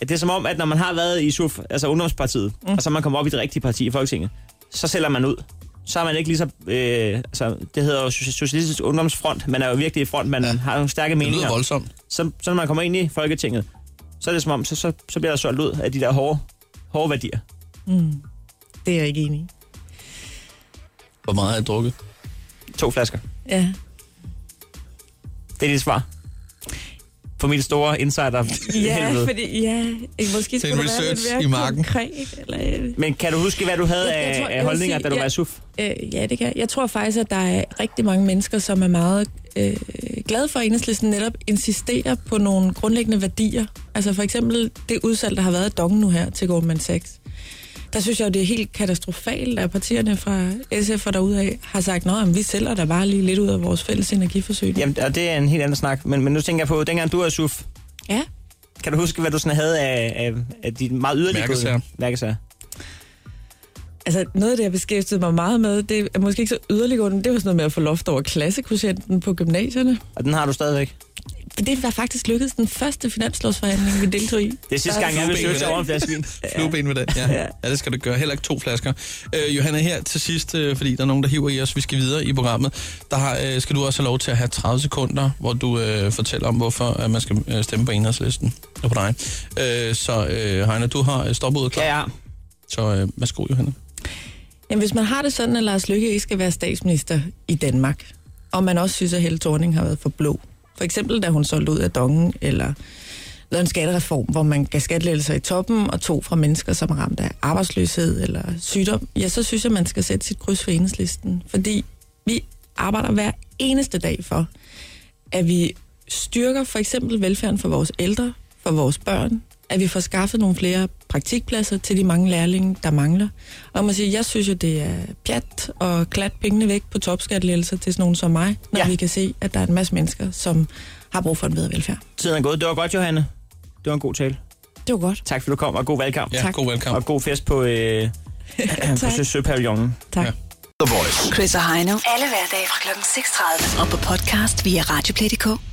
Speaker 4: at det er som om, at når man har været i SUF, altså Ungdomspartiet, mm. og så man kommer op i det rigtige parti i Folketinget, så sælger man ud. Så er man ikke lige så... Øh, altså, det hedder jo Soci- Socialistisk Ungdomsfront. Man er jo virkelig i front, man ja. har nogle stærke meninger.
Speaker 3: lyder voldsomt.
Speaker 4: Så, så når man kommer ind i Folketinget, så er det som om, så, så, så bliver der solgt ud af de der hårde, hårde værdier.
Speaker 26: Mm. Det er jeg ikke enig i.
Speaker 3: Hvor meget har jeg drukket?
Speaker 4: To flasker.
Speaker 26: Ja.
Speaker 4: Det er dit svar. For min store insider.
Speaker 26: Ja,
Speaker 4: helvede.
Speaker 26: fordi, ja, ikke, måske
Speaker 4: Det er
Speaker 26: skulle
Speaker 4: en
Speaker 26: det være lidt
Speaker 4: research
Speaker 26: mere
Speaker 4: i marken.
Speaker 26: konkret. Eller, øh,
Speaker 4: Men kan du huske, hvad du havde
Speaker 26: Jeg- jeg
Speaker 4: af,
Speaker 26: tror, jeg
Speaker 4: af
Speaker 26: vil
Speaker 4: holdninger,
Speaker 26: sige,
Speaker 4: da du
Speaker 26: jeg-
Speaker 4: var i SUF?
Speaker 26: Øh, ja, det kan jeg. Jeg tror faktisk, at der er rigtig mange mennesker, som er meget øh, glade for, at enhedslisten netop insisterer på nogle grundlæggende værdier. Altså for eksempel det udsalg, der har været af Dong nu her til Goldman Sachs. Der synes jeg jo, det er helt katastrofalt, at partierne fra SF og derude af har sagt, at vi sælger der bare lige lidt ud af vores fælles energiforsyning.
Speaker 4: Jamen, og det er en helt anden snak. Men, men nu tænker jeg på, dengang du var i SUF.
Speaker 26: Ja.
Speaker 4: Kan du huske, hvad du sådan havde af, af, af dit meget yderlige
Speaker 3: Mærkesager.
Speaker 4: mærkesager?
Speaker 26: Altså, noget af det, jeg beskæftigede mig meget med, det er måske ikke så yderliggående, men det var sådan noget med at få loft over klassekocienten på gymnasierne.
Speaker 4: Og den har du stadigvæk?
Speaker 26: Det var faktisk lykkedes den første finanslovsforhandling, vi deltog i.
Speaker 4: Det er sidste gang, jeg
Speaker 3: Flueben
Speaker 4: besøgte
Speaker 3: ved
Speaker 4: dig
Speaker 3: den.
Speaker 4: over en flaske vin.
Speaker 3: Flueben ved den, ja. ja. det skal du gøre. Heller ikke to flasker. Øh, Johanna, her til sidst, øh, fordi der er nogen, der hiver i os. Vi skal videre i programmet. Der har, øh, skal du også have lov til at have 30 sekunder, hvor du øh, fortæller om, hvorfor at man skal øh, stemme på enhedslisten. Det er på dig. Øh, så øh, Heine, du har øh, stopudet klar.
Speaker 4: Ja, ja.
Speaker 3: Så øh, værsgo, Johanna.
Speaker 26: Jamen, hvis man har det sådan, at Lars Lykke ikke skal være statsminister i Danmark, og man også synes, at Helle Thorning har været for blå, for eksempel da hun solgte ud af Dongen, eller lavede en skattereform, hvor man gav skattelettelser i toppen og tog fra mennesker, som er ramt af arbejdsløshed eller sygdom, ja, så synes jeg, man skal sætte sit kryds for enhedslisten. Fordi vi arbejder hver eneste dag for, at vi styrker for eksempel velfærden for vores ældre, for vores børn, at vi får skaffet nogle flere praktikpladser til de mange lærlinge, der mangler. Og man siger, jeg synes jo, det er pjat og klat pengene væk på topskattelettelser til sådan nogen som mig, når ja. vi kan se, at der er en masse mennesker, som har brug for en bedre velfærd.
Speaker 4: Tiden er gået. Det var godt, Johanne. Det var en god tale.
Speaker 26: Det var godt.
Speaker 4: Tak fordi du kom, og god valgkamp.
Speaker 3: Ja, Tak. god valgkamp.
Speaker 4: Og god fest på, øh, på
Speaker 2: Tak.
Speaker 4: Sø- Søpavillonen.
Speaker 26: Tak. Ja.
Speaker 4: The Voice.
Speaker 2: Chris og Heino. Alle hverdage fra kl. 6.30. Og på podcast via Radioplay.dk.